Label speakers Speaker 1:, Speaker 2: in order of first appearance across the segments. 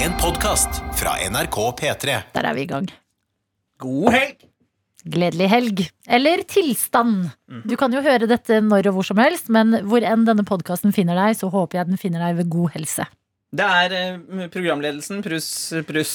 Speaker 1: En podkast fra NRK P3.
Speaker 2: Der er vi i gang.
Speaker 3: God helg!
Speaker 2: Gledelig helg. Eller tilstand. Du kan jo høre dette når og hvor som helst, men hvor enn denne podkasten finner deg, så håper jeg den finner deg ved god helse.
Speaker 3: Det er eh, programledelsen pluss Prus,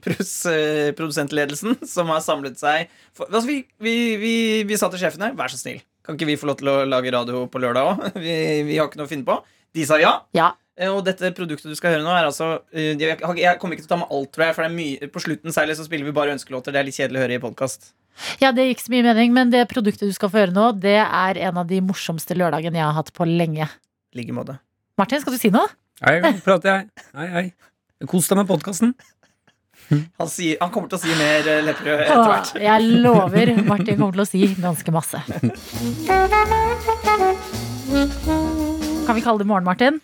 Speaker 2: Prus.
Speaker 3: eh, produsentledelsen som har samlet seg for, altså vi, vi, vi, vi sa til sjefene vær så snill, kan ikke vi få lov til å lage radio på lørdag òg? Vi, vi har ikke noe å finne på. De sa ja.
Speaker 2: Ja.
Speaker 3: Eh, Og dette produktet du skal høre nå, er altså eh, Jeg, har ikke- jeg kommer ikke til å ta med alt, tror jeg, for det er mye På slutten særlig så spiller vi bare ønskelåter. Det er litt kjedelig å høre i podkast.
Speaker 2: ja, det gir ikke så mye mening, men det produktet du skal få høre nå, det er en av de morsomste lørdagene jeg har hatt på lenge.
Speaker 3: Like måte.
Speaker 2: Martin, skal du si noe?
Speaker 4: Hei, prater jeg. Hei, hei. Kos deg med podkasten.
Speaker 3: Han, sier, han kommer til å si mer eh, lepperød etter
Speaker 2: Åh,
Speaker 3: hvert.
Speaker 2: jeg lover Martin kommer til å si ganske masse. Kan vi kalle det morgen, Martin?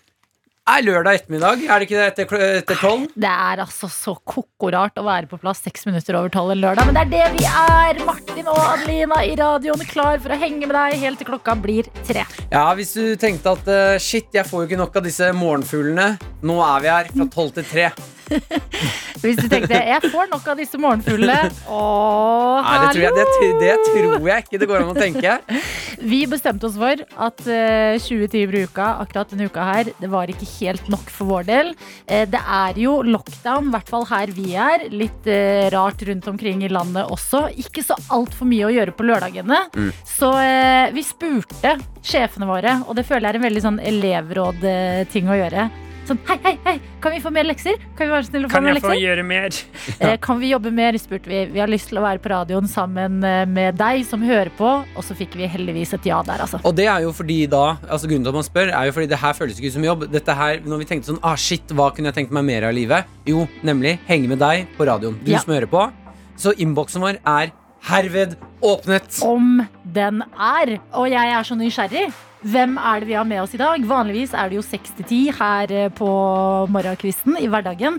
Speaker 4: Er lørdag ettermiddag, er det ikke det etter, kl- etter tolv?
Speaker 2: Det er altså så koko rart å være på plass seks minutter over tolv en lørdag, men det er det vi er! Martin og Adelina i radioen klar for å henge med deg helt til klokka blir tre.
Speaker 4: Ja, hvis du tenkte at eh, shit, jeg får jo ikke nok av disse morgenfuglene. Nå er vi her fra tolv til tre.
Speaker 2: Hvis du tenkte jeg får nok av disse morgenfuglene Åh,
Speaker 4: Nei, det tror, jeg, det,
Speaker 2: hallo!
Speaker 4: det tror jeg ikke det går an å tenke.
Speaker 2: Vi bestemte oss for at eh, 20 timer i uka, akkurat denne uka her, det var ikke helt nok for vår del. Eh, det er jo lockdown, i hvert fall her vi er. Litt eh, rart rundt omkring i landet også. Ikke så altfor mye å gjøre på lørdagene. Så eh, vi spurte sjefene våre, og det føler jeg er en veldig sånn elevråd-ting å gjøre. Sånn, hei, hei, hei, kan vi få mer lekser? Kan vi være så snill å få mer lekser?
Speaker 4: gjøre mer?
Speaker 2: Eh, Kan vi jobbe mer, spurte vi. Vi har lyst til å være på radioen sammen eh, med deg som hører på. Og så fikk vi heldigvis et ja der, altså.
Speaker 4: Og det er jo fordi da, altså grunnen til at man spør, er jo fordi det her føles ikke ut som jobb. Dette her, Når vi tenkte sånn ah shit, hva kunne jeg tenkt meg mer av i livet? Jo, nemlig henge med deg på radioen. Du
Speaker 2: Ja.
Speaker 4: som hører på. Så innboksen vår er herved åpnet.
Speaker 2: Om den er. Og jeg er så nysgjerrig. Hvem er det vi har med oss i dag? Vanligvis er det jo 6-10 her eh, på morgenkvisten i hverdagen.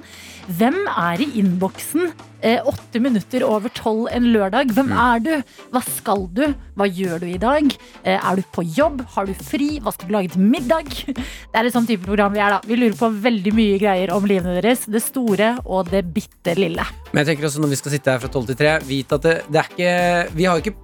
Speaker 2: Hvem er i innboksen eh, åtte minutter over tolv en lørdag? Hvem
Speaker 4: Mm.
Speaker 2: er du? Hva skal du? Hva gjør du i dag? Eh, Er du på jobb? Har du fri? Hva skal du lage til middag? Det er et sånn type program vi er, da. Vi lurer på veldig mye greier om livene deres. Det store og det bitte lille.
Speaker 4: Men jeg tenker også når vi skal sitte her fra 12 til 3 Vit at det, det er ikke Vi har ikke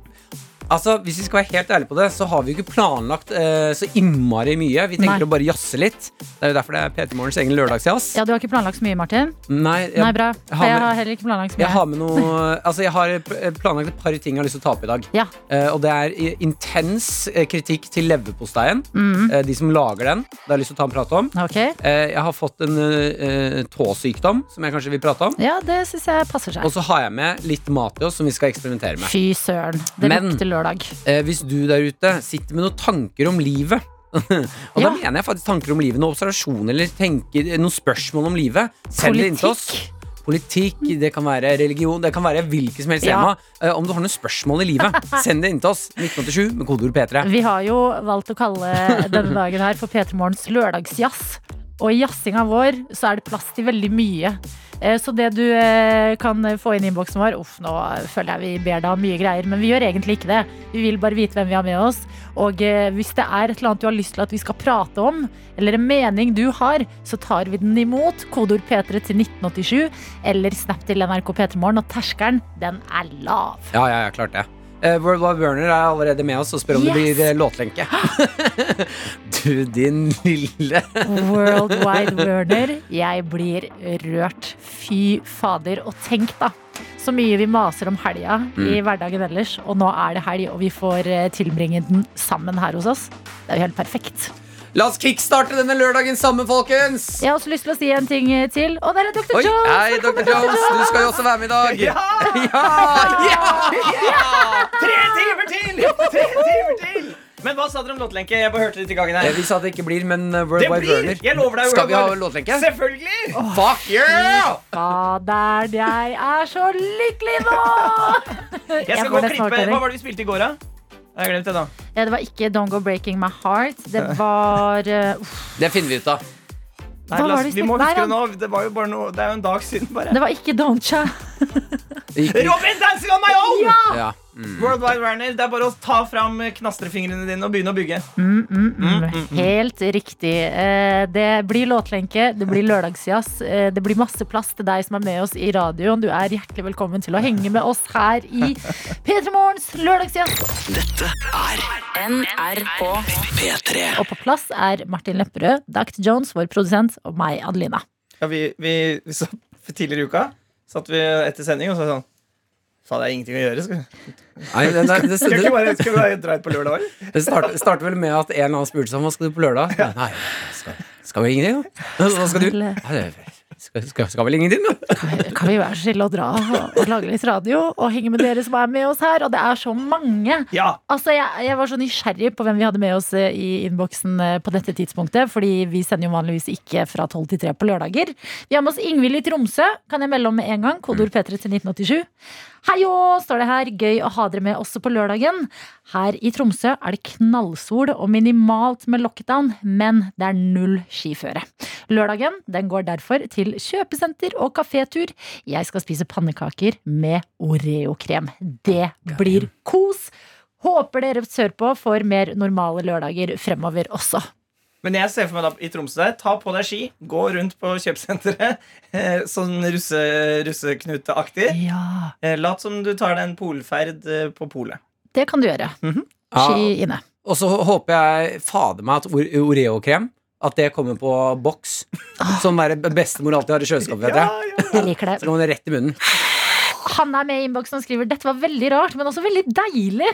Speaker 4: Altså, Hvis vi skal være helt ærlige på det, så har vi jo ikke planlagt eh, så innmari mye. Vi tenker
Speaker 2: Nei.
Speaker 4: å bare jazze litt. Det er jo derfor det er PT Morgens egen lørdagsjazz.
Speaker 2: Ja, du har ikke planlagt så mye, Martin?
Speaker 4: Nei, jeg,
Speaker 2: Nei, bra.
Speaker 4: jeg har
Speaker 2: Jeg
Speaker 4: med-
Speaker 2: har heller ikke planlagt så
Speaker 4: jeg
Speaker 2: mye.
Speaker 4: har med noe Altså, jeg har pl- planlagt et par ting jeg har lyst til å ta opp i dag.
Speaker 2: Ja.
Speaker 4: Eh, og det er i- intens eh, kritikk til leverposteien.
Speaker 2: Mhm.
Speaker 4: Eh, de som lager den. Det har jeg lyst til å ta en prat om.
Speaker 2: Ok.
Speaker 4: Eh, jeg har fått en eh, eh, tåsykdom, som jeg kanskje vil prate om.
Speaker 2: Ja, det syns jeg passer seg.
Speaker 4: Og så har jeg med litt mat i oss som vi skal eksperimentere med.
Speaker 2: Fy søren. Det
Speaker 4: Men-
Speaker 2: lukter lørdag.
Speaker 4: eh, hvis du der ute sitter med noen tanker om livet og da
Speaker 2: Ja.
Speaker 4: mener jeg faktisk tanker om livet, noen observasjoner eller tenker, eh, noen spørsmål om livet. Send det inn til oss.
Speaker 2: Politikk. Mm.
Speaker 4: Politikk, det kan være religion, det kan være hvilket som helst
Speaker 2: Ja.
Speaker 4: tema. Eh, om du har noen spørsmål i livet, send det inn til oss. 1987 med kodeord P3.
Speaker 2: Vi har jo valgt å kalle denne dagen her for P3 Morgens lørdagsjazz. Og i jazzinga vår så er det plass til veldig mye. Eh, Så det du eh, kan få inn i innboksen vår Uff, nå føler jeg vi ber deg om mye greier, men vi gjør egentlig ikke det. Vi vil bare vite hvem vi har med oss. Og eh, hvis det er et eller annet du har lyst til at vi skal prate om, eller en mening du har, så tar vi den imot. Kodeord P3 til 1987 eller snap til NRK P3morgen. Og terskelen, den er lav.
Speaker 4: Ja, ja, ja, klart det. Eh, World War Burner er allerede med oss og spør om
Speaker 2: Yes!
Speaker 4: det blir eh, låtlenke. du, din lille
Speaker 2: World Wide Werner. Jeg blir rørt. Fy fader. Og tenk, da. Så mye vi maser om helga i hverdagen ellers, og nå er det helg, og vi får eh, tilbringe den sammen her hos oss. Det er jo helt perfekt.
Speaker 4: La oss kickstarte denne lørdagen sammen, folkens!
Speaker 2: Jeg har også lyst til å si en ting eh, til, og det er Dr.
Speaker 4: Oi,
Speaker 2: Jones!
Speaker 4: hei, Dr. Jones, du skal jo også være med i dag.
Speaker 3: Ja!
Speaker 4: Ja!
Speaker 3: Tre timer til! Tre timer til! Men hva sa dere om låtlenke? Jeg bare hørte det i gangen
Speaker 4: Eh,
Speaker 3: her.
Speaker 4: Vi sa at det ikke blir, men eh, World
Speaker 3: Det
Speaker 4: Wide
Speaker 3: blir!
Speaker 4: Burner.
Speaker 3: Jeg lover deg.
Speaker 4: Skal vi ha
Speaker 3: Warner.
Speaker 4: låtlenke?
Speaker 3: Selvfølgelig!
Speaker 4: Fuck yeah!
Speaker 2: Faderen, jeg er så lykkelig nå!
Speaker 3: Jeg
Speaker 2: går
Speaker 3: skal gå og
Speaker 2: nesten over
Speaker 3: klippe.
Speaker 2: til deg.
Speaker 3: Hva var det vi spilte i går, da? Jeg har glemt det, da.
Speaker 2: Ja, det var ikke Don't Go Breaking My Heart. Det var eh, uff,
Speaker 4: Det finner vi ut av.
Speaker 3: Nei,
Speaker 2: Hva var
Speaker 3: Lasse,
Speaker 2: det vi
Speaker 3: vi må
Speaker 2: spilte?
Speaker 3: huske
Speaker 2: Nei,
Speaker 3: det nå. Det var jo bare noe Det er jo en dag siden, bare.
Speaker 2: Det var ikke Don't Cha.
Speaker 4: Det gikk-
Speaker 3: Robin dancing on my own!
Speaker 4: Ja.
Speaker 3: World Wide Werner, det er bare å ta fram knastrefingrene dine og begynne å bygge.
Speaker 2: Mm, mm, mm. Helt riktig. Eh, Det blir låtlenke, det blir lørdagsjazz. eh, Det blir masse plass til deg som er med oss i radioen. Du er hjertelig velkommen til å henge med oss her i P3 Morgens lørdagsjazz.
Speaker 5: NRK.
Speaker 2: Og på plass er Martin Lepperød, Dact Jones, vår produsent, og meg, Adelina.
Speaker 3: Ja, vi, vi, vi sa, for tidligere i uka satt vi etter sending og sa sånn Faen, det er ingenting å gjøre. Skal vi
Speaker 4: Nei, det, det, det,
Speaker 3: skal vi
Speaker 4: det,
Speaker 3: ikke bare, skal vi bare dra ut på lørdag? eller?
Speaker 4: Det start, starter vel med at en eller annen spurte seg om hva skal du på lørdag. Nei, skal, skal vi ingenting, da? Hva skal du? Nei, det- Skal, skal, skal vel ingenting, da?
Speaker 2: Kan vi være så snille å dra og, og lage litt radio og henge med dere som er med oss her? Og det er så mange.
Speaker 3: Ja,
Speaker 2: Altså, jeg, jeg var så nysgjerrig på hvem vi hadde med oss eh, i innboksen eh, på dette tidspunktet. Fordi vi sender jo vanligvis ikke fra 12 til 3 på lørdager. Vi har med oss Ingvild i Tromsø. Kan jeg melde om med en gang? Kodeord P3 til 1987. Heiå, står det her. Gøy å ha dere med også på lørdagen. Her i Tromsø er det knallsol og minimalt med lockdown, men det er null skiføre. Lørdagen den går derfor til kjøpesenter og kafétur. Jeg skal spise pannekaker med Oreo-krem. Det blir kos. Håper dere sørpå får mer normale lørdager fremover også.
Speaker 3: Men jeg ser for meg da i Tromsø der, ta på deg ski, gå rundt på kjøpesenteret, eh, sånn russe, russeknuteaktig.
Speaker 2: Ja,
Speaker 3: Eh, Lat som du tar deg en polferd eh, på polet.
Speaker 2: det kan du gjøre. Ski inne.
Speaker 4: Og så håper jeg fader meg at Ore- Oreo-krem At det kommer på boks. Som er det bestemor alltid har i kjøleskapet. Vet jeg.
Speaker 2: Jeg liker
Speaker 4: Så
Speaker 2: det.
Speaker 4: kommer det rett i munnen.
Speaker 2: Han er med i innboksen og skriver dette var veldig rart, men også veldig deilig.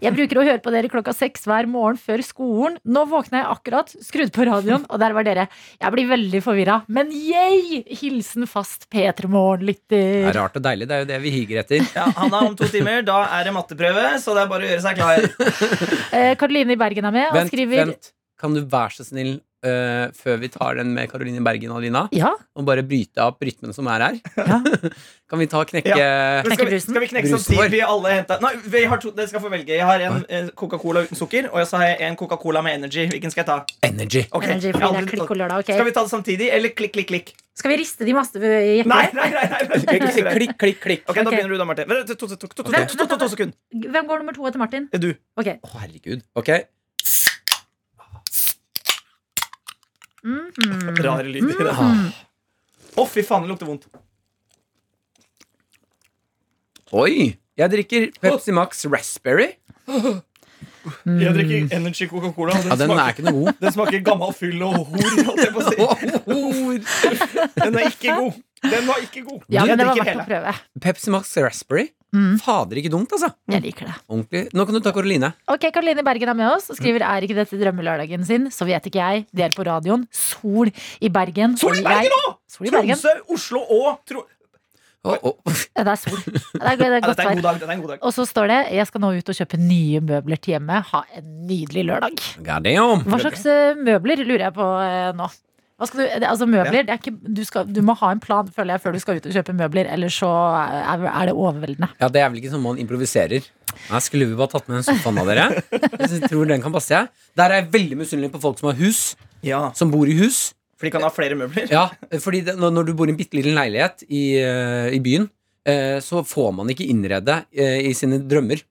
Speaker 2: Jeg bruker å høre på dere klokka seks hver morgen før skolen. Nå våkna jeg akkurat, skrudd på radioen, og der var dere. Jeg blir veldig forvirra, men yay! Hilsen fast P3
Speaker 4: Det
Speaker 2: Morgen-lytter.
Speaker 4: er rart og deilig. Det er jo det vi higer etter.
Speaker 3: Ja, Hanna, om to timer, da er det matteprøve, så det er bare å gjøre seg klar.
Speaker 2: Eh, Karoline i Bergen er med og
Speaker 4: Vent,
Speaker 2: skriver
Speaker 4: vent. Kan du være så snill, øh, før vi tar den med Karoline Bergen og Alina,
Speaker 2: Ja,
Speaker 4: og bare bryte opp rytmen som er her?
Speaker 2: ja.
Speaker 4: Kan vi ta og knekke
Speaker 3: Men Skal vi, skal vi knekke sånn
Speaker 4: Brusen vår.
Speaker 3: tid vi alle henta Nei, vi har to, dere skal få velge. Jeg har en eh, Coca-Cola uten sukker, og så har jeg en Coca-Cola med energy. Hvilken skal jeg ta?
Speaker 4: Energy?
Speaker 3: Ok,
Speaker 2: Energy,
Speaker 3: jeg har
Speaker 2: fordi det er
Speaker 3: aldri-
Speaker 2: klikk og lørdag, ok.
Speaker 3: Skal vi ta det samtidig, eller klikk, klikk, klikk?
Speaker 2: Skal vi riste de masse i jekker?
Speaker 3: Nei, nei, nei! nei, nei, nei, nei, nei, nei.
Speaker 4: Klikk, klikk, klikk.
Speaker 3: Ok, da
Speaker 2: Ok.
Speaker 3: begynner du da, Martin. Vent, To, to, to, to, to,
Speaker 2: Vent,
Speaker 3: to, to, to, to sekunder.
Speaker 2: Hvem går nummer to etter Martin?
Speaker 3: Eh, Du.
Speaker 2: Ok,
Speaker 4: Å, herregud. Ok.
Speaker 3: Rare lyder. i det.
Speaker 2: Mm.
Speaker 3: Å, fy faen, det lukter vondt.
Speaker 4: Oi! Jeg drikker Pepsi Max Raspberry.
Speaker 2: Mm.
Speaker 3: Jeg drikker Energy Coca-Cola, og
Speaker 4: Ja, Den er
Speaker 3: smaker,
Speaker 4: ikke noe god.
Speaker 3: den smaker gammel fyll og hor. holdt jeg på å si.
Speaker 4: oh,
Speaker 3: Den er ikke god. Den var ikke god.
Speaker 2: Ja,
Speaker 3: Jeg
Speaker 2: men det var
Speaker 3: drikker
Speaker 2: verdt å prøve.
Speaker 4: Pepsi Max Raspberry.
Speaker 2: Mm.
Speaker 4: Fader, ikke dumt, altså.
Speaker 3: Mm.
Speaker 2: Jeg liker det.
Speaker 4: Ordentlig. Nå kan du ta Karoline.
Speaker 2: Ok, Karoline Bergen er med oss og skriver
Speaker 3: Mm.
Speaker 2: er ikke dette drømmelørdagen sin, så vet ikke jeg. Det er på radioen. Sol i Bergen.
Speaker 3: Sol i
Speaker 2: Og
Speaker 3: Bergen
Speaker 2: jeg-
Speaker 3: nå!
Speaker 2: Sol i Bergen.
Speaker 3: Tromsø, Oslo og Tro...
Speaker 4: Å, å.
Speaker 2: Ja, Det er sol. Det er, det er
Speaker 3: Ja,
Speaker 2: godt
Speaker 3: dette er en
Speaker 2: vær.
Speaker 3: god dag. Dette er en god dag.
Speaker 2: Og så står det jeg skal nå ut og kjøpe nye møbler til hjemmet. Ha en nydelig lørdag.
Speaker 4: God damn.
Speaker 2: Hva slags eh, møbler lurer jeg på eh, nå? Hva skal du, det, altså møbler, det er ikke, du, skal, du må ha en plan føler jeg, før du skal ut og kjøpe møbler, ellers så er, er det overveldende.
Speaker 4: Ja, Det er vel ikke sånn man improviserer. Jeg skulle vi bare tatt med en sofaen av dere? Jeg tror den kan passe. jeg. Der er jeg veldig misunnelig på folk som har hus.
Speaker 3: Ja,
Speaker 4: Som bor i hus.
Speaker 3: For de kan ha flere møbler.
Speaker 4: Ja, fordi det, når, når du bor i en bitte liten leilighet i, eh, i byen, eh, så får man ikke innrede eh, i sine drømmer.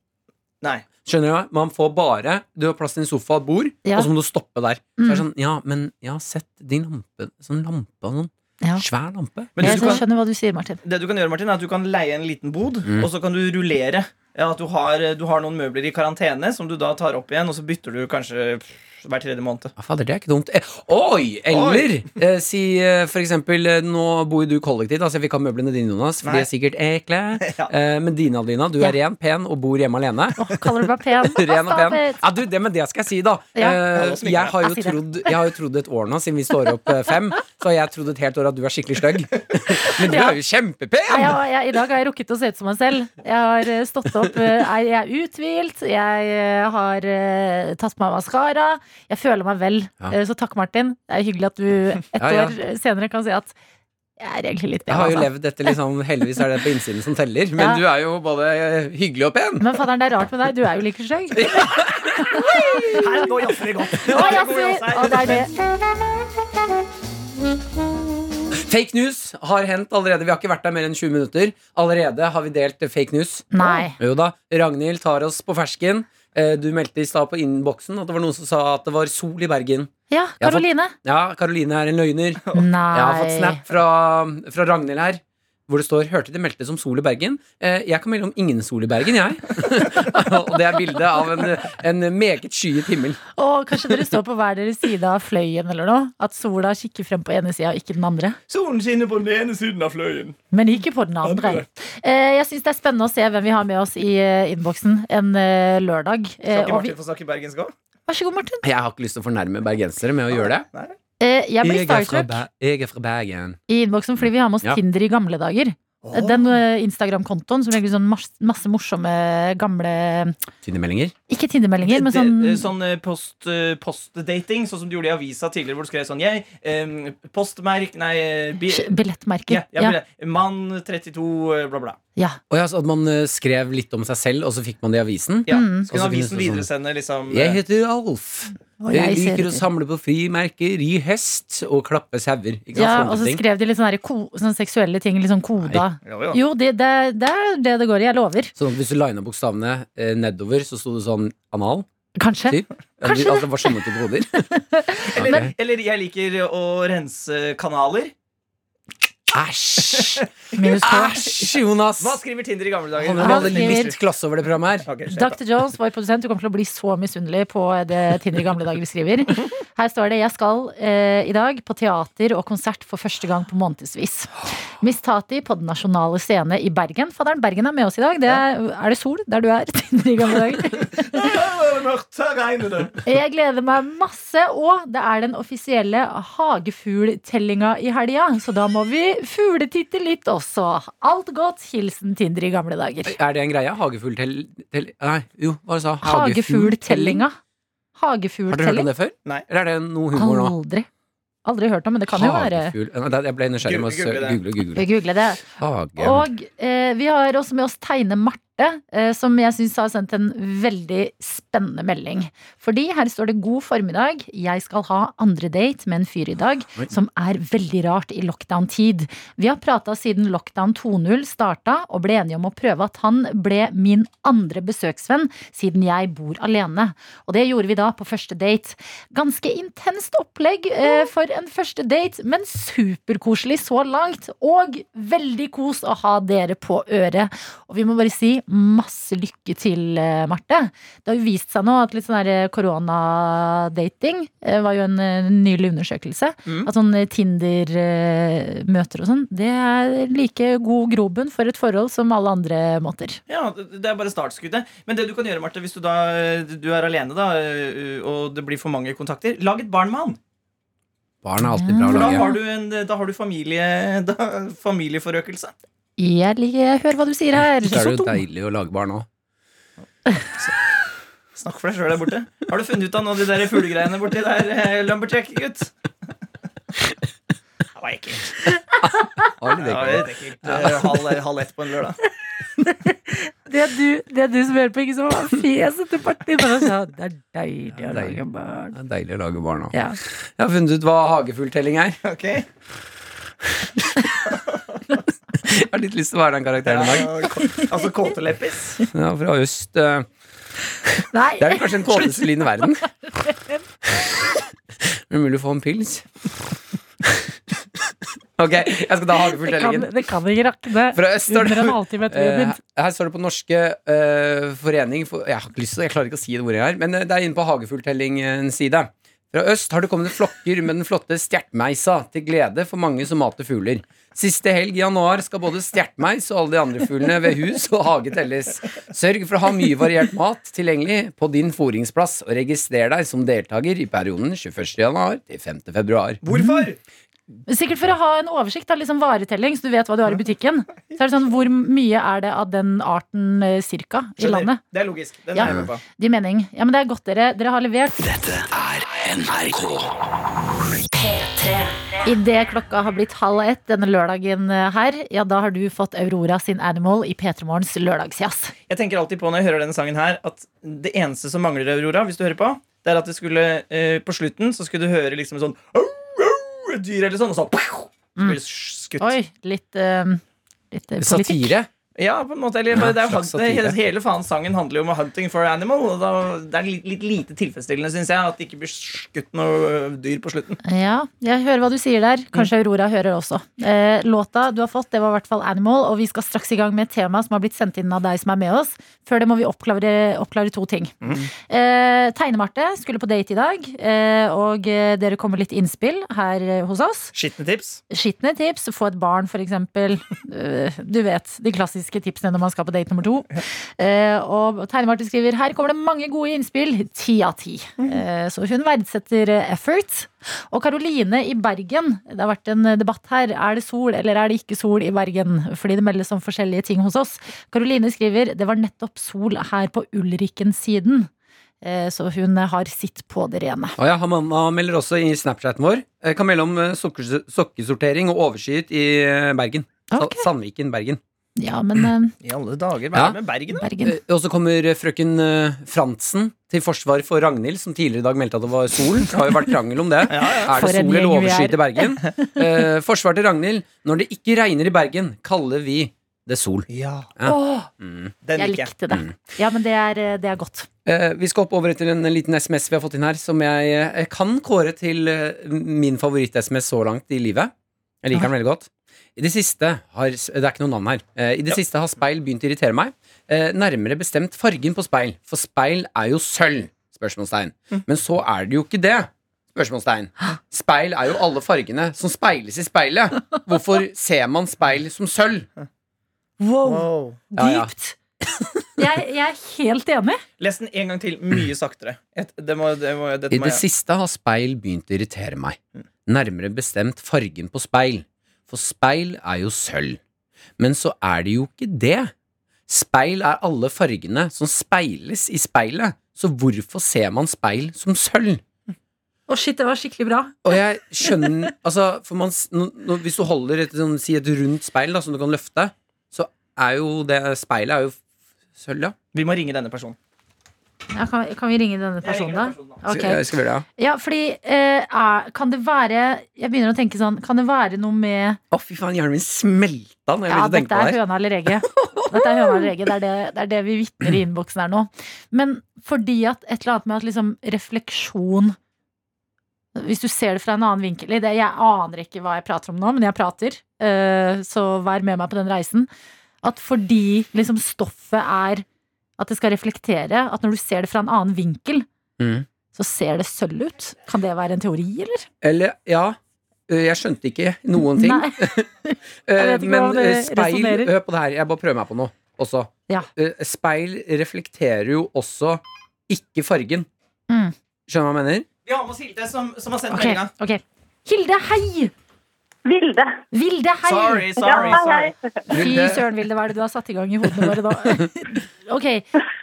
Speaker 3: Nei.
Speaker 4: Skjønner du? hva? Man får bare Du har plass til en sofa og et bord,
Speaker 2: Ja. Mm.
Speaker 4: og så må du stoppe der. Så er det sånn, ja, men jeg har sett din lampe Sånn lampe og sånn.
Speaker 2: Ja.
Speaker 4: Svær lampe.
Speaker 3: Men
Speaker 2: jeg
Speaker 3: du kan,
Speaker 2: skjønner hva du sier, Martin.
Speaker 3: det du kan gjøre, Martin, er at du kan leie en liten bod,
Speaker 4: Mm.
Speaker 3: og så kan du rullere. Ja, at du har, du har noen møbler i karantene som du da tar opp igjen, og så bytter du kanskje pff, hver tredje måned.
Speaker 4: Ja, fader, det er ikke dumt. Eh, oi! Eller Eh, si eh, for eksempel eh, Nå bor jo du kollektivt, altså jeg vil ikke ha møblene dine, Jonas, for
Speaker 3: Nei.
Speaker 4: de er sikkert ekle.
Speaker 3: Ja.
Speaker 4: Eh, men dine, Adelina, du
Speaker 2: Ja.
Speaker 4: er ren, pen og bor hjemme alene.
Speaker 2: Åh, kaller du meg pen?
Speaker 4: Ren og
Speaker 2: Stop
Speaker 4: pen.
Speaker 2: it.
Speaker 4: Ja, du, det, men det skal jeg si, da.
Speaker 2: Ja.
Speaker 4: Eh,
Speaker 3: Ja,
Speaker 4: jeg, har jo
Speaker 2: Jeg sier det.
Speaker 4: trodd, jeg har jo trodd et år nå, siden vi står opp eh, fem, så har jeg trodd et helt år at du er skikkelig stygg. Men du
Speaker 2: Ja.
Speaker 4: er jo kjempepen!
Speaker 2: Nei, jeg, har- jeg, I dag har jeg rukket å se ut som meg selv. Jeg har eh, stått opp, eh, er- jeg er uthvilt, jeg eh, har eh, tatt på meg maskara. Jeg føler meg vel.
Speaker 4: Ja.
Speaker 2: Eh, Så takk, Martin. Det er hyggelig at du et
Speaker 4: Ja, ja.
Speaker 2: år senere kan si at jeg er egentlig litt
Speaker 4: Jeg har jo
Speaker 2: bedre. altså.
Speaker 4: levd etter liksom, Heldigvis er det på innsiden som teller, men
Speaker 2: Ja.
Speaker 4: du er jo både eh, hyggelig og pen.
Speaker 2: Men fadderen, det er rart med deg. Du er jo like stygg.
Speaker 3: Her, nå jazzer vi godt.
Speaker 2: Å, jaså, å, det er det.
Speaker 4: Fake news har hendt allerede. Vi har ikke vært der mer enn 20 minutter. Allerede har vi delt eh, fake news.
Speaker 2: Nei.
Speaker 4: Jo da. Ragnhild tar oss på fersken. Eh, Du meldte i stad på innboksen at det var noen som sa at det var sol i Bergen.
Speaker 2: Ja,
Speaker 4: Jeg har fått-
Speaker 2: Karoline.
Speaker 4: Ja, Karoline er en løgner.
Speaker 2: Nei.
Speaker 4: Jeg har fått snap fra, fra Ragnhild her. Hvor det står 'Hørte det meldte som sol i Bergen'. Eh, jeg kan melde om ingen sol i Bergen, jeg. og det er bildet av en, en meget skyet himmel.
Speaker 2: Og kanskje dere står på hver deres side av fløyen eller noe? At sola kikker frem på ene sida, ikke den andre?
Speaker 5: Solen skinner på den ene siden av fløyen.
Speaker 2: Men ikke på den andre. Eh, jeg syns det er spennende å se hvem vi har med oss i eh, innboksen en eh, lørdag. Eh,
Speaker 3: Skal ikke
Speaker 2: og vi,
Speaker 3: Martin få snakke bergensk òg?
Speaker 2: vær så god, Martin.
Speaker 4: Jeg har ikke lyst til å fornærme bergensere med å gjøre det.
Speaker 2: Eh, jeg blir
Speaker 4: er fra,
Speaker 2: starstruck
Speaker 4: Ber- jeg er fra Bergen.
Speaker 2: i innboksen fordi vi har med oss
Speaker 4: Ja.
Speaker 2: Tinder i gamle dager. Eh, Den eh, Instagram-kontoen som legger ut sånn mas masse morsomme gamle
Speaker 4: Fine meldinger.
Speaker 2: Ikke Tinder-meldinger, men sånn
Speaker 3: Det- sånn eh, post, eh, postdating, sånn som du gjorde i avisa tidligere, hvor du skrev sånn jeg, em, Postmerk Nei, eh, bi,
Speaker 2: sj- billettmerker.
Speaker 3: ja, jeg
Speaker 2: Ja,
Speaker 3: ble, Mann 32, eh, bla, bla.
Speaker 2: ja.
Speaker 4: Og ja, så at man eh, skrev litt om seg selv, og så fikk man det i avisen.
Speaker 3: Ja.
Speaker 2: Mm.
Speaker 3: Så kunne
Speaker 4: Og så finnes
Speaker 3: avisen
Speaker 4: det sånn-
Speaker 3: videresende liksom eh,
Speaker 4: Jeg heter Alf.
Speaker 2: Og
Speaker 4: Jeg
Speaker 2: ser
Speaker 4: liker å
Speaker 2: etter.
Speaker 4: samle på frimerker, ri hest og klappe sauer. Ikke sant?
Speaker 2: Ja,
Speaker 4: Sånne
Speaker 2: og så
Speaker 4: ting.
Speaker 2: skrev de litt sånne, her ko sånne seksuelle ting, litt sånn koda.
Speaker 3: Jo, jo.
Speaker 2: Jo, det, det, det er det det går i. Jeg lover.
Speaker 4: Sånn at hvis du lina bokstavene eh, nedover, så sto det sånn anal.
Speaker 2: Kanskje.
Speaker 4: Typ. Eller,
Speaker 2: Kanskje det.
Speaker 4: altså, det var sånne type koder.
Speaker 3: Eller,
Speaker 4: Ok.
Speaker 3: eller jeg liker å rense kanaler.
Speaker 4: Æsj!
Speaker 2: Minus
Speaker 4: Ah!
Speaker 2: K.
Speaker 4: Æsj, Jonas!
Speaker 3: Hva skriver Tinder i gamle dager?
Speaker 4: Han hadde
Speaker 2: skriver-
Speaker 4: litt klasse over det programmet her.
Speaker 3: Ok, skjer.
Speaker 2: Dr. Jones, vår produsent, du kommer til å bli så misunnelig på det Tinder i gamle dager skriver. Her står det 'Jeg skal eh, i dag på teater og konsert for første gang på månedsvis'. Miss Tati på Den nasjonale scene i Bergen. Fadderen, Bergen er med oss i dag. Det er, er det sol der du er? Tinder i gamle dager.
Speaker 5: Her mørkt, her regner det.
Speaker 2: Jeg gleder meg masse, og det er den offisielle hagefugltellinga i helga, så da må vi fugletitte litt også. Alt godt. Hilsen Tinder i gamle dager.
Speaker 4: Er det en greie? Hagefugltell... Tell, nei, jo, hva sa du?
Speaker 2: Hagefugltellinga.
Speaker 4: Har dere hørt
Speaker 2: Hagefugltelling.
Speaker 4: om det før?
Speaker 3: Nei.
Speaker 4: Eller er det noe humor nå?
Speaker 2: Aldri. Aldri hørt om, men det kan jo være
Speaker 4: Hagefugl Nei, det- Jeg ble nysgjerrig med å
Speaker 3: Google
Speaker 4: sø-
Speaker 3: det.
Speaker 4: google og google.
Speaker 2: Vi googler det.
Speaker 4: Hage
Speaker 2: Og eh, vi har også med oss Tegne Marte, eh, som jeg syns har sendt en veldig spennende melding. Fordi her står det 'God formiddag, jeg skal ha andre date med en fyr i dag',
Speaker 4: Oi.
Speaker 2: som er veldig rart i lockdown-tid. Vi har prata siden lockdown 2.0 starta, og ble enige om å prøve at han ble min andre besøksvenn, siden jeg bor alene. Og det gjorde vi da på første date. Ganske intenst opplegg eh, for en første date, men superkoselig så langt. Og veldig kos å ha dere på øret. Og vi må bare si masse lykke til, eh, Marte. Det har jo vist seg nå at litt sånn der eh, koronadating eh, var jo en eh, nylig undersøkelse.
Speaker 3: Mm.
Speaker 2: At sånn Tinder-møter og sånn, det er like god grobunn for et forhold som alle andre måter.
Speaker 3: Ja, det er bare startskuddet. Men det du kan gjøre, Marte, hvis du da du er alene, da, og det blir for mange kontakter, lag et barn med han.
Speaker 4: Barn er alltid bra å
Speaker 3: For da
Speaker 4: lage.
Speaker 3: har du, en, da har du familie, da, familieforøkelse.
Speaker 2: Jeg liker, hører hva du sier her.
Speaker 4: Da er det
Speaker 2: Så
Speaker 4: jo
Speaker 2: dum.
Speaker 4: deilig å lage barn òg.
Speaker 3: Snakk for deg sjøl der borte. Har du funnet ut av noe av de der fuglegreiene borti der, eh, lumberjack, gutt? Det var ekkelt. Det var litt ekkelt. Eh, Halv, halv ett på en lørdag.
Speaker 2: Det er du, det er du som hører på, ikke som fjeset til Martin. Bare sa, det er deilig å lage barn.
Speaker 4: Deilig å lage barn òg.
Speaker 2: Ja.
Speaker 4: Jeg har funnet ut hva hagefugltelling er.
Speaker 3: Ok?
Speaker 4: Jeg har litt lyst til å være den karakteren i dag.
Speaker 3: Ja, k- altså kåteleppis.
Speaker 4: Ja, fra øst eh,
Speaker 2: Nei,
Speaker 4: Det er vel kanskje den kåteste lyden i verden. Men mulig å få en pils. Ok, jeg skal ta
Speaker 2: det kan,
Speaker 4: hagefugltellingen.
Speaker 2: det kan ikke rakne
Speaker 4: Fra øst står
Speaker 2: under
Speaker 4: det
Speaker 2: en halvtime etter vi har
Speaker 4: Eh,
Speaker 2: begynt.
Speaker 4: her står det på Norske eh, forening for, Jeg har ikke lyst til det, jeg klarer ikke å si det ordet her. Men eh, det er inne på Hagefugltellingens side. Fra øst har det kommet flokker med den flotte stjertmeisa, til glede for mange som mater fugler. Siste helg i januar skal både stjertmeis og alle de andre fuglene ved hus og hage telles. Sørg for å ha mye variert mat tilgjengelig på din foringsplass, og registrer deg som deltaker i perioden 21. januar til 5. februar.
Speaker 3: Hvorfor?
Speaker 4: Eh.
Speaker 2: Sikkert for å ha en oversikt av liksom varetelling, så du vet hva du har i butikken. Så er det sånn, Hvor mye er det av den arten eh, cirka i landet?
Speaker 3: Det er logisk. Den
Speaker 2: Ja.
Speaker 3: er jeg med på.
Speaker 2: Det gir mening. Ja, men det er godt dere, dere har levert. Idet klokka har blitt halv ett denne lørdagen eh, her, ja, da har du fått Aurora sin Animal i P3 Morgens lørdagsjazz.
Speaker 3: Jeg tenker alltid på når jeg hører denne sangen her At det eneste som mangler Aurora Hvis du hører på Det er at det skulle eh, På slutten så skulle du høre liksom sånn au, au, et Dyr eller sånn Og så pow, Så blir det skutt.
Speaker 2: Oi, litt, eh, litt eh, politikk.
Speaker 4: Satire.
Speaker 3: Ja, på en måte. Eller, bare, det er jo,
Speaker 4: slags
Speaker 3: hunt-
Speaker 4: satire.
Speaker 3: hele faen sangen handler jo om 'hunting for animal'. Og da, det er litt, litt lite tilfredsstillende, syns jeg, at det ikke blir skutt noe ø, dyr på slutten.
Speaker 2: Ja, jeg hører hva du sier der. Kanskje Aurora hører også. Eh, låta du har fått, det var i hvert fall 'Animal', og vi skal straks i gang med et tema som har blitt sendt inn av deg som er med oss. Før det må vi oppklare, oppklare to ting. Eh, Tegne-Marte skulle på date i dag, eh, og eh, dere kommer litt innspill her eh, hos oss.
Speaker 3: Skitne tips.
Speaker 2: Skitne tips, få et barn for eksempel. Eh, Du vet, de klassiske tipsene når man skal på date nummer to. Eh, Og Tegne-Marte skriver her kommer det mange gode innspill. Ti av ti. Eh, Så hun verdsetter eh, effort. Og Karoline i Bergen, det har vært en eh, debatt her. Er det sol eller er det ikke sol i Bergen? Fordi det meldes om forskjellige ting hos oss. Karoline skriver det var nettopp sol her på Ulriken-siden. Eh, Så hun eh, har sitt på det rene.
Speaker 4: Og ja, Hamanna melder også i Snapchaten vår. eh, Kan melde om eh, sokker, sokkesortering og overskyet i eh, Bergen. Sa-
Speaker 2: Ok.
Speaker 4: Sandviken, Bergen.
Speaker 2: Ja, men eh,
Speaker 3: I alle dager, hva
Speaker 4: Ja.
Speaker 3: er det med Bergen, da?
Speaker 2: Bergen.
Speaker 4: Eh, Og så kommer eh, frøken eh, Fransen til forsvar for Ragnhild, som tidligere i dag meldte at det var sol. Det har jo vært krangel om det. Er
Speaker 2: For
Speaker 4: det
Speaker 2: en
Speaker 4: sol eller
Speaker 2: gjeng vi
Speaker 4: overskyet
Speaker 2: er.
Speaker 4: i Bergen? Eh, forsvar til Ragnhild. Når det ikke regner i Bergen, kaller vi det sol.
Speaker 3: Ja,
Speaker 2: Åh,
Speaker 3: den
Speaker 2: jeg
Speaker 3: liker jeg.
Speaker 2: likte det. Ja, men det er, eh, det er godt.
Speaker 4: Eh, vi skal hoppe over til en liten SMS vi har fått inn her, som jeg eh, kan kåre til eh, min favoritt-SMS så langt i livet. Jeg liker den veldig godt. I det siste har Det er ikke noe navn her. Eh, I det siste har speil begynt å irritere meg. Eh, nærmere bestemt fargen på speil, for speil er jo sølv! Spørsmålstegn. Men så er det jo ikke det! Spørsmålstegn. Speil er jo alle fargene som speiles i speilet. Hvorfor ser man speil som sølv?
Speaker 2: Wow,
Speaker 3: Wow.
Speaker 4: Ja, ja.
Speaker 2: dypt! Jeg, jeg er helt enig.
Speaker 3: Les den en gang til, mye saktere. Et, det må, det må, dette
Speaker 4: I
Speaker 3: må
Speaker 4: det
Speaker 3: jeg
Speaker 4: siste har speil begynt å irritere meg. Nærmere bestemt fargen på speil. For speil er jo sølv. Men så er det jo ikke det. Speil er alle fargene som speiles i speilet. Så hvorfor ser man speil som sølv?
Speaker 2: Å shit, det var skikkelig bra.
Speaker 4: Og jeg skjønner altså, for man, s- nå- nå- Hvis du holder et, sånn, si et rundt speil da, som du kan løfte, så er jo det speilet er jo f- sølv, ja.
Speaker 3: Vi må ringe denne personen.
Speaker 2: Ja, kan, kan vi ringe denne
Speaker 3: Jeg ringer
Speaker 2: personen, da?
Speaker 3: den personen,
Speaker 4: Skal-
Speaker 2: Ok.
Speaker 4: jeg skal gjøre det, ja.
Speaker 2: Ja, fordi eh, er, Kan det være Jeg begynner å tenke sånn Kan det være noe med
Speaker 4: Å, fy faen, hjernen min smelta når jeg
Speaker 2: Ja,
Speaker 4: begynte å
Speaker 2: dette
Speaker 4: tenke på
Speaker 2: er
Speaker 4: det. her.
Speaker 2: høna eller egget. Dette er høna eller egget. Det er det, det, er det vi vitner i innboksen her nå. Men fordi at et eller annet med at liksom refleksjon Hvis du ser det fra en annen vinkel i det, Jeg aner ikke hva jeg prater om nå, men jeg prater. eh, Så vær med meg på den reisen. At fordi liksom stoffet er at det skal reflektere, at når du ser det fra en annen vinkel,
Speaker 4: Mm.
Speaker 2: så ser det sølv ut. Kan det være en teori, eller?
Speaker 4: Eller, ja øh, Jeg skjønte ikke noen ting.
Speaker 2: Nei. jeg vet ikke
Speaker 4: men
Speaker 2: hvordan det
Speaker 4: øh, speil
Speaker 2: resonerer.
Speaker 4: Hør på det her, jeg bare prøver meg på noe også.
Speaker 2: Ja.
Speaker 4: Øh, Speil reflekterer jo også ikke fargen.
Speaker 2: Mm.
Speaker 4: Skjønner du hva jeg mener?
Speaker 3: Vi har med oss Hilde, som, som har sendt
Speaker 2: Ok,
Speaker 3: meldinga.
Speaker 2: ok. Hilde, hei!
Speaker 6: Vilde.
Speaker 2: Vilde, hei!
Speaker 3: Sorry,
Speaker 6: Ja,
Speaker 3: sorry,
Speaker 6: hei,
Speaker 3: sorry.
Speaker 6: hei.
Speaker 2: Fy
Speaker 4: Vilde.
Speaker 2: søren, Vilde, hva er det du har satt i gang i hodene våre da? ok,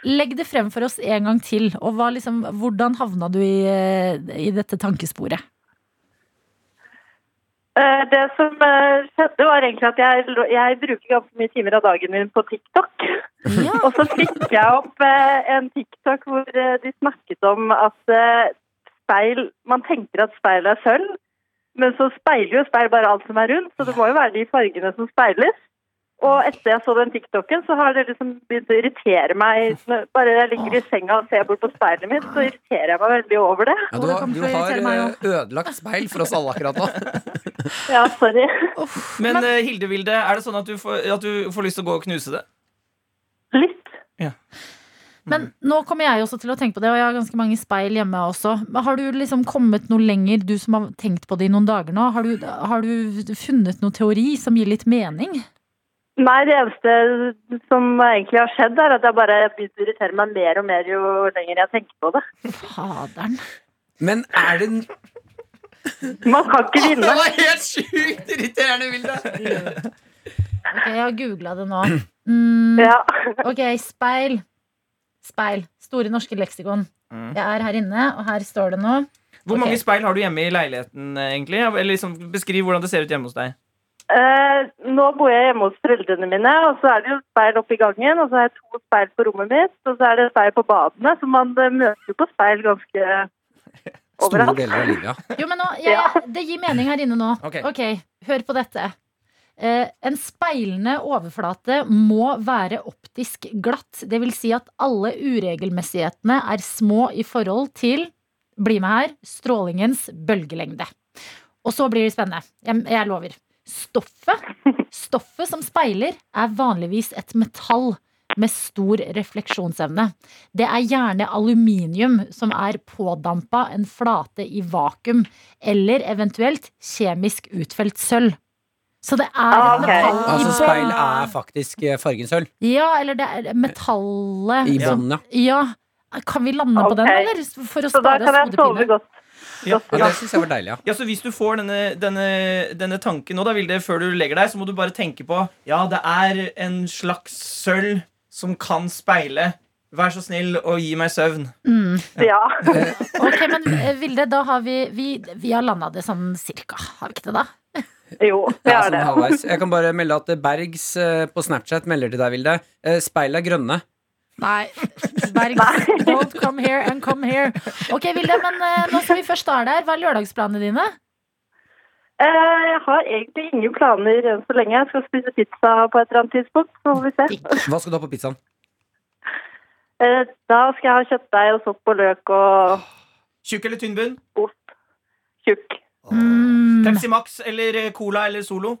Speaker 2: legg det frem for oss en gang til. Og hva, liksom, hvordan havna du i, eh, i dette tankesporet?
Speaker 6: Eh, Det som eh, skjedde, var egentlig at jeg, lå- jeg bruker ganske mye timer av dagen min på TikTok.
Speaker 2: Ja,
Speaker 6: Og så fikk jeg opp eh, en TikTok hvor eh, de snakket om at eh, speil Man tenker at speil er sølv, men så speiler jo speil bare alt som er rundt, så det må jo være de fargene som speiles. Og etter jeg så den TikToken, så har det liksom begynt å irritere meg. Når- Bare jeg ligger i senga og ser bort på speilet mitt, så irriterer jeg meg veldig over det.
Speaker 4: Ja,
Speaker 2: Å,
Speaker 4: du,
Speaker 2: det
Speaker 4: har-
Speaker 2: kommer
Speaker 4: du
Speaker 2: til å
Speaker 4: har
Speaker 2: irritere meg
Speaker 4: øh, ødelagt speil for oss alle akkurat nå.
Speaker 6: Ja, sorry.
Speaker 3: Men eh, Hilde Vilde, er det sånn at du, får, at du får lyst til å gå og knuse det?
Speaker 6: Litt.
Speaker 2: Men nå kommer jeg også til å tenke på det, og jeg har ganske mange speil hjemme også. Men Har du liksom kommet noe lenger, du som har tenkt på det i noen dager nå? Har du, har du funnet noe teori som gir litt mening?
Speaker 6: Nei, det eneste som egentlig har skjedd, er at jeg bare begynte å irritere meg mer og mer jo lenger jeg tenker på det.
Speaker 2: Faderen.
Speaker 4: Men er det n-
Speaker 6: Man kan ikke vinne.
Speaker 4: var helt sjukt irriterende, Vilde!
Speaker 2: Ok, jeg har googla det nå. Mm.
Speaker 6: Ja.
Speaker 2: Ok, speil. Speil. Store norske leksikon.
Speaker 3: Mm.
Speaker 2: Jeg er her inne, og her står det nå.
Speaker 3: Hvor
Speaker 2: Ok.
Speaker 3: mange speil har du hjemme i leiligheten, eh, egentlig? Eller liksom, Beskriv hvordan det ser ut hjemme hos deg.
Speaker 6: Eh, nå bor jeg hjemme hos foreldrene mine, og så er det jo speil oppe i gangen, og så har jeg to speil på rommet mitt, og så er det speil på badene, så man eh, møter jo på speil ganske
Speaker 4: Store
Speaker 6: overalt.
Speaker 4: deler av livet, ja.
Speaker 2: Jo, men nå, jeg, Det gir mening her inne nå.
Speaker 3: Ok.
Speaker 2: ok, hør på dette. Eh, en speilende overflate må være optisk glatt. Det vil si at alle uregelmessighetene er små i forhold til bli med her strålingens bølgelengde. Og så blir det spennende. Jeg, jeg lover. Stoffet, stoffet som speiler, er vanligvis et metall med stor refleksjonsevne. Det er gjerne aluminium som er pådampa en flate i vakuum, eller eventuelt kjemisk utfelt sølv. Så det er
Speaker 6: Ah,
Speaker 2: et
Speaker 6: ok.
Speaker 2: metall i
Speaker 4: Altså,
Speaker 2: bånn.
Speaker 4: speil er faktisk eh, fargen sølv.
Speaker 2: Ja, eller det er metallet
Speaker 4: I
Speaker 2: som-
Speaker 4: bånn, ja.
Speaker 2: Ja. Kan vi lande på den,
Speaker 6: Ok.
Speaker 2: eller? For å
Speaker 6: Så da
Speaker 2: spare
Speaker 6: kan jeg
Speaker 2: oss
Speaker 6: sove
Speaker 2: hodepine.
Speaker 6: godt.
Speaker 3: Ja.
Speaker 4: ja.
Speaker 3: Ja.
Speaker 4: Det syns jeg var deilig, ja.
Speaker 3: Ja, så Hvis du får denne, denne, denne tanken nå, da, Vilde, før du legger deg, så må du bare tenke på Ja, det er en slags sølv som kan speile. Vær så snill å gi meg søvn.
Speaker 6: Ja.
Speaker 2: Ok, men eh, Vilde, da har vi Vi, vi har landa det sånn cirka, har vi ikke det, da?
Speaker 6: Jo, det
Speaker 4: Ja,
Speaker 6: er
Speaker 4: sånn
Speaker 6: det.
Speaker 4: halvveis. Jeg kan bare melde at eh, Bergs eh, på Snapchat melder til deg, Vilde. eh, Speil er grønne.
Speaker 2: Nei. Bergs, don't come here and come here. Ok, Vilde, men eh, nå som vi først er der, hva er lørdagsplanene dine?
Speaker 6: Eh, Jeg har egentlig ingen planer enn så lenge. Jeg skal spise pizza på et eller annet tidspunkt. Så får vi se.
Speaker 4: Hva skal du ha på pizzaen?
Speaker 6: Eh, Da skal jeg ha kjøttdeig og sopp og løk og
Speaker 3: Tjukk eller tynn bunn?
Speaker 6: ost. Tjukk
Speaker 2: Mm,
Speaker 3: Pepsi Max eller eh, Cola eller Solo?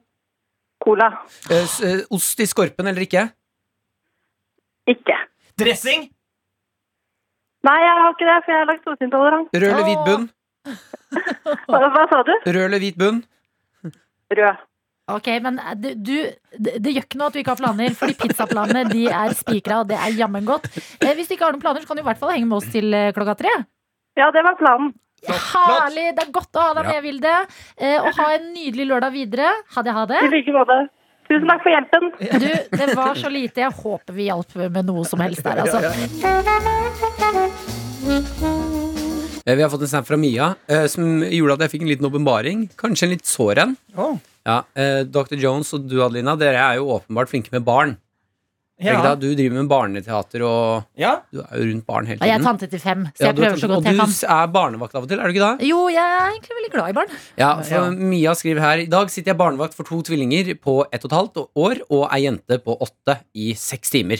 Speaker 6: cola.
Speaker 4: Eh, s- eh, Ost i skorpen eller ikke?
Speaker 6: Ikke.
Speaker 3: Dressing?
Speaker 6: Nei, jeg har ikke det, for jeg er laktoseintolerant.
Speaker 4: Rød eller hvit bunn?
Speaker 6: Hva hva sa du?
Speaker 4: Rød eller hvit bunn?
Speaker 6: Rød.
Speaker 2: ok, men eh, du, du det, det gjør ikke noe at du ikke har planer, fordi pizzaplanene de er spikra, og det er jammen godt. Eh, Hvis du ikke har noen planer, så kan du i hvert fall henge med oss til eh, klokka tre.
Speaker 6: Ja, det var planen.
Speaker 2: Herlig! Det er godt å ha deg med, Vilde. Eh, Og ha en nydelig lørdag videre. Ha det, ha det.
Speaker 6: I like måte. Tusen takk for hjelpen.
Speaker 2: Du, det var så lite. Jeg håper vi hjalp med noe som helst der, altså.
Speaker 4: Eh, Vi har fått en snap fra Mia eh, som gjorde at jeg fikk en liten åpenbaring. Kanskje en litt sår en.
Speaker 3: Oh.
Speaker 4: Ja, eh, Dr. Jones og du, Adelina, dere er jo åpenbart flinke med barn. Er ikke
Speaker 3: Ja.
Speaker 4: det? Du driver med barneteater, og
Speaker 3: ja.
Speaker 4: du er jo rundt barn hele
Speaker 2: Jeg er
Speaker 4: tiden.
Speaker 2: tante til fem, så
Speaker 4: Ja,
Speaker 2: jeg
Speaker 4: du er
Speaker 2: prøver så
Speaker 4: tante-
Speaker 2: godt jeg
Speaker 4: og
Speaker 2: kan.
Speaker 4: du er barnevakt av og til, er du ikke det?
Speaker 2: Jo, jeg er egentlig veldig glad i barn.
Speaker 4: Ja, for
Speaker 3: Ja.
Speaker 4: Mia skriver her I dag sitter jeg barnevakt for to tvillinger på ett og et halvt år og ei jente på åtte i seks timer.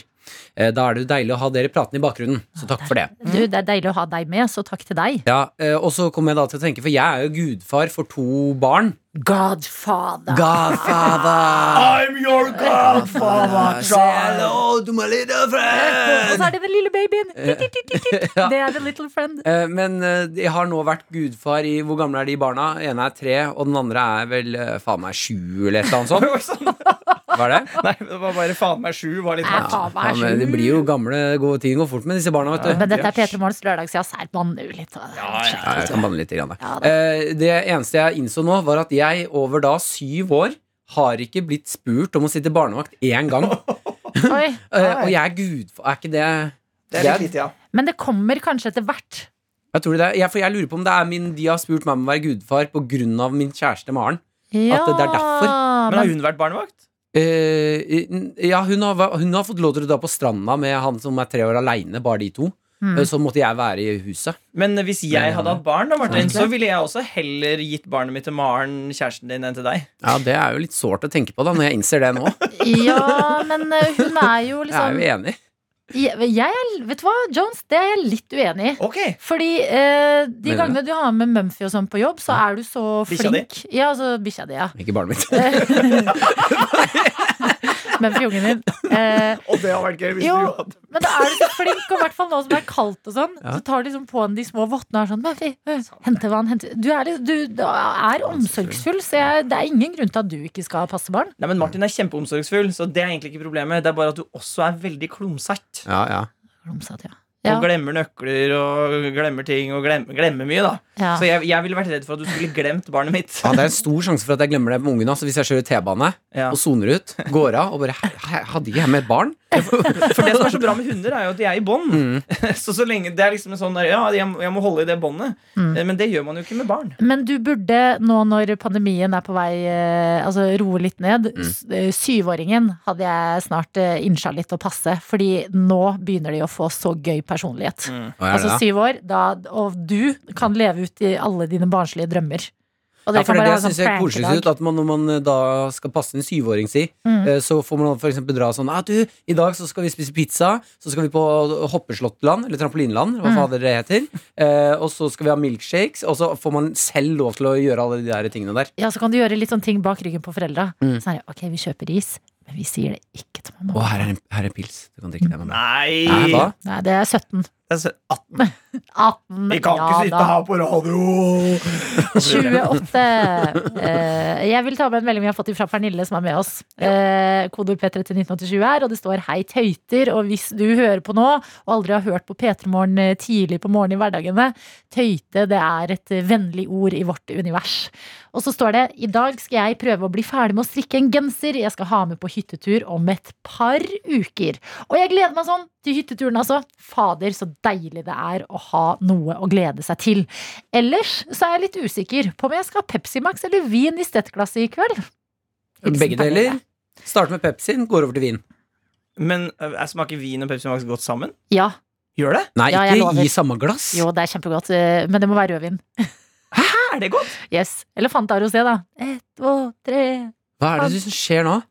Speaker 4: Eh, Da er det jo deilig å ha dere pratende i bakgrunnen, så takk for det.
Speaker 2: Du, Det er deilig å ha deg med, så takk til deg.
Speaker 4: Ja, eh, Og så kom jeg da til å tenke, for jeg er jo gudfar for to barn.
Speaker 2: Godfather.
Speaker 4: Godfather! Eh,
Speaker 5: I'm your godfather, Charlo.
Speaker 4: to my little
Speaker 2: Og så
Speaker 4: friend!
Speaker 2: er det den lille babyen. Det er the little friend.
Speaker 4: Eh, Men eh, jeg har nå vært gudfar i Hvor gamle er de barna? Den ene er tre, og den andre er vel eh, faen meg sju, eller et eller annet
Speaker 3: Det
Speaker 4: sånt.
Speaker 3: var sånn.
Speaker 4: Hva er det?
Speaker 3: Nei, det var bare faen meg sju. Var litt
Speaker 2: Nei,
Speaker 3: hardt.
Speaker 2: faen meg
Speaker 4: Ja, men de
Speaker 2: sjukt.
Speaker 4: blir jo gamle, gode ting går fort med disse barna, vet du.
Speaker 2: Men dette er P3 Morgens lørdagsjazz. Her banner vi litt. og-
Speaker 4: Ja, jeg kan banne litt. Grann,
Speaker 2: Ja,
Speaker 4: det. Eh, det eneste jeg innså nå, var at jeg over da syv år har ikke blitt spurt om å sitte barnevakt én gang.
Speaker 2: Oi.
Speaker 4: Eh, og jeg er gudfar. Er ikke det
Speaker 3: Det er litt lite, ja.
Speaker 2: Men det kommer kanskje etter hvert.
Speaker 4: jeg tror det er, jeg, for jeg lurer på om det er min De har spurt meg om å være gudfar på grunn av min kjæreste Maren.
Speaker 2: Ja,
Speaker 4: det er derfor.
Speaker 3: Men har hun vært barnevakt?
Speaker 4: Eh, n- ja, hun har, va- hun har fått lov til å dra på stranda med han som er tre år aleine, bare de to.
Speaker 2: Mm.
Speaker 4: Eh, Så måtte jeg være i huset.
Speaker 3: Men hvis jeg hadde hatt barn, da, Martin,
Speaker 4: Egentlig.
Speaker 3: så ville jeg også heller gitt barnet mitt til Maren, kjæresten din, enn til deg.
Speaker 4: Ja, Det er jo litt sårt å tenke på da når jeg innser det nå.
Speaker 2: Ja, men eh, hun er jo
Speaker 4: Jeg er
Speaker 2: liksom
Speaker 4: jo enig.
Speaker 2: Jeg, jeg er, vet du hva, Jones, det er jeg litt uenig i.
Speaker 3: Ok,
Speaker 2: Fordi eh, de
Speaker 4: Mener du
Speaker 2: gangene du har med Mumphy og sånn på jobb, så er du så
Speaker 3: Bikkja di?
Speaker 2: flink. Ja, altså bikkja di, ja.
Speaker 4: Ikke barnet mitt.
Speaker 2: Mumphy-ungen din. Eh,
Speaker 5: Og det har vært gøy hvis
Speaker 2: jo,
Speaker 5: du hadde
Speaker 2: men da er du så flink, og i hvert fall nå som det er kaldt og sånn,
Speaker 4: Ja.
Speaker 2: så tar du liksom på henne de små vottene og er sånn Mumphy, øh, hente vann, hente Du er, litt- du, du er omsorgsfull, så jeg, det er ingen grunn til at du ikke skal passe barn.
Speaker 3: Nei, men Martin er kjempeomsorgsfull, så det er egentlig ikke problemet. Det er bare at du også er veldig klumsete.
Speaker 4: Ja, ja.
Speaker 2: Romsatt, ja.
Speaker 3: Og glemmer nøkler og glemmer ting og glemmer, glemmer mye, da.
Speaker 2: Ja.
Speaker 3: Så jeg, jeg ville vært redd for at du skulle glemt barnet mitt.
Speaker 4: Ja, det er en stor sjanse for at jeg glemmer det med ungen. Altså, hvis jeg kjører T-bane
Speaker 3: Ja.
Speaker 4: og soner ut, går av og bare "Hæ, hæ, Hadde ikke jeg med et barn?
Speaker 3: For det som er så bra med hunder, er jo at de er i bånd. Så så lenge det er liksom en sånn der, Ja, jeg, jeg må holde i det båndet. Eh, Men det gjør man jo ikke med barn.
Speaker 2: Men du burde nå når pandemien er på vei eh, Altså roe litt ned
Speaker 5: Mm.
Speaker 2: s- eh, Syvåringen hadde jeg snart eh, innsja litt å passe Fordi nå begynner de å få så gøy personlighet
Speaker 4: Å, ja,
Speaker 2: Altså
Speaker 4: da.
Speaker 2: syv år da, Og du kan leve ut i alle dine barnslige drømmer Og
Speaker 4: Ja, for det, er det jeg
Speaker 2: en
Speaker 4: synes er
Speaker 2: sånn prankedag.
Speaker 4: koseligst ut, at man, når man eh, da skal passe en syvåring si,
Speaker 2: Mm.
Speaker 4: eh, så får man for eksempel dra sånn ah, du, i dag så skal vi spise pizza, så skal vi på hoppeslåttland, eller trampolinland, hva
Speaker 2: Mm.
Speaker 4: fader det heter, eh, og så skal vi ha milkshakes, og så får man selv lov til å gjøre alle de der tingene der.
Speaker 2: Ja, så kan du gjøre litt sånn ting bak ryggen på foreldra
Speaker 4: Mm.
Speaker 2: Sånn her, ok, vi kjøper is Men vi sier det ikke til
Speaker 4: Å,
Speaker 2: mamma
Speaker 4: her er en, her er en pils. Du kan drikke det med meg.
Speaker 3: Nei!
Speaker 4: Nei, hva?
Speaker 2: Nei, det er 17
Speaker 3: Det er sø- 18.
Speaker 2: 18,
Speaker 5: Vi kan ikke
Speaker 2: ja
Speaker 5: sitte
Speaker 2: da.
Speaker 5: her på radio.
Speaker 2: 28. Eh, jeg vil ta med en melding vi har fått fra Pernille, som er med oss. Uh, Kodord P3 til 1987 her, og det står 'Hei, tøyter'. Og hvis du hører på nå, og aldri har hørt på P3 Morgen eh, tidlig på morgenen i hverdagene, tøyte det er et eh, vennlig ord i vårt univers. Og så står det 'I dag skal jeg prøve å bli ferdig med å strikke en genser'. Jeg skal ha med på hyttetur om et par uker. Og jeg gleder meg sånn til hytteturen, altså. Fader, så deilig det er å ha noe å glede seg til. Ellers så er jeg litt usikker på om jeg skal ha Pepsi Max eller vin i stettglasset i kveld. Hilsen
Speaker 4: Begge
Speaker 2: Pernille.
Speaker 4: deler. Start med Pepsin, går over til vin.
Speaker 3: Men eh, smaker vin og Pepsi Max godt sammen?
Speaker 2: Ja.
Speaker 3: Gjør det?
Speaker 4: Nei,
Speaker 2: Ja, jeg lover.
Speaker 4: ikke i samme glass.
Speaker 2: Jo, det er kjempegodt, eh, men det må være rødvin.
Speaker 3: Er det godt?
Speaker 2: Yes. Eller Fanta Rosé, da. Ett, to, tre
Speaker 4: Hva er det som skjer nå?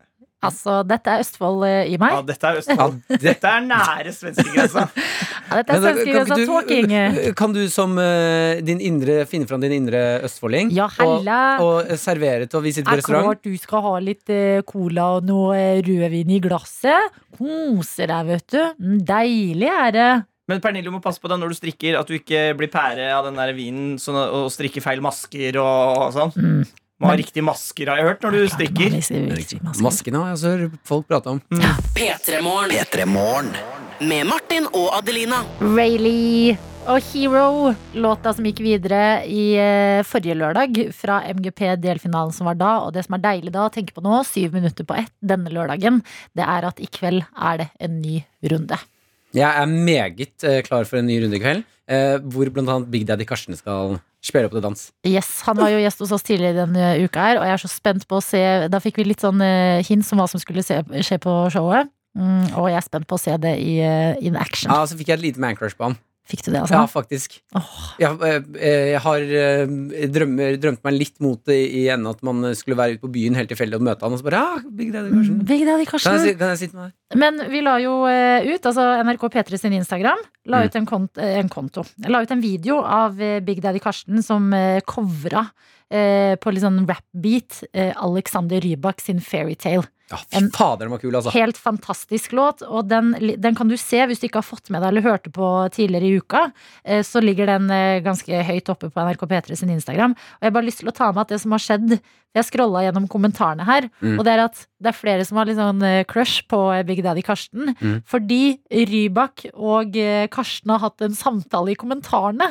Speaker 2: Altså, dette er Østfold eh, i
Speaker 3: Ja,
Speaker 2: meg.
Speaker 3: dette er
Speaker 4: Ja,
Speaker 3: Østfold.
Speaker 4: det
Speaker 3: Dette er nære svenskegrensa.
Speaker 2: Ja, dette er
Speaker 4: Men da- kan
Speaker 2: svenskegrensa
Speaker 4: ikke
Speaker 2: talking. eh.
Speaker 4: du- Kan du som eh, din indre finne fram din indre østfolding?
Speaker 2: Ja, hella.
Speaker 4: Og, og servere til, og vi sitter på
Speaker 2: Er
Speaker 4: restaurant.
Speaker 2: klart du skal ha litt eh, cola og noe eh, rødvin i glasset. Kose deg, vet du. Mm, Deilig er det.
Speaker 3: Men Pernille, du må passe på deg når du strikker, at du ikke blir pære av den der vinen sånn, at- og strikker feil masker og, og sånn.
Speaker 2: Mm.
Speaker 3: Må ha riktige masker, har jeg hørt, når du strikker.
Speaker 4: Maskene har jeg også hørt folk prate om.
Speaker 7: P3 Morgen. Med Martin og Adelina.
Speaker 2: Rayleigh og Hero, låta som gikk videre i eh, forrige lørdag fra MGP-delfinalen som var da. Og det som er deilig da å tenke på nå, syv minutter på ett denne lørdagen, det er at i kveld er det en ny runde.
Speaker 4: Jeg er meget eh, klar for en ny runde i kveld, eh, hvor blant annet Big Daddy Karsten skal spille opp til dans.
Speaker 2: Yes, Han var jo gjest hos oss tidligere denne uka, her og jeg er så spent på å se Da fikk vi litt sånn eh, hint om hva som skulle se, skje på showet. Mm, og jeg er spent på å se det i eh, in action.
Speaker 4: Ja, Så fikk jeg et lite mancrush på han.
Speaker 2: Fikk du det,
Speaker 4: Ja,
Speaker 2: altså?
Speaker 4: faktisk.
Speaker 2: Åh.
Speaker 4: Jeg, eh, jeg har eh, drømmer, drømt meg litt mot det i ende at man skulle være ute på byen helt tilfeldig og møte han, og så bare ah, Big Daddy Karsten.
Speaker 2: Big Daddy
Speaker 4: Kan
Speaker 2: Karsten.
Speaker 4: jeg, si- kan jeg sitte med deg?
Speaker 2: Men vi la jo eh, ut, altså NRK P3 sin Instagram la
Speaker 4: Mm.
Speaker 2: ut en, kont eh, en konto. La ut en video av eh, Big Daddy Karsten som eh, covra eh, på litt sånn rap-beat eh, Alexander Rybak sin Fairytale.
Speaker 4: Ja, fy
Speaker 2: En-
Speaker 4: fader, den var kul, altså.
Speaker 2: Helt fantastisk låt, og den, li- den kan du se hvis du ikke har fått med deg eller hørte på tidligere i uka. Eh, Så ligger den eh, ganske høyt oppe på NRK P3 sin Instagram. Og jeg har bare lyst til å ta med at det som har skjedd Jeg scrolla gjennom kommentarene her,
Speaker 4: Mm.
Speaker 2: og det er at det er flere som har litt sånn eh, crush på eh, Big Daddy Karsten.
Speaker 4: Mm.
Speaker 2: Fordi Rybak og eh, Karsten har hatt en samtale i kommentarene.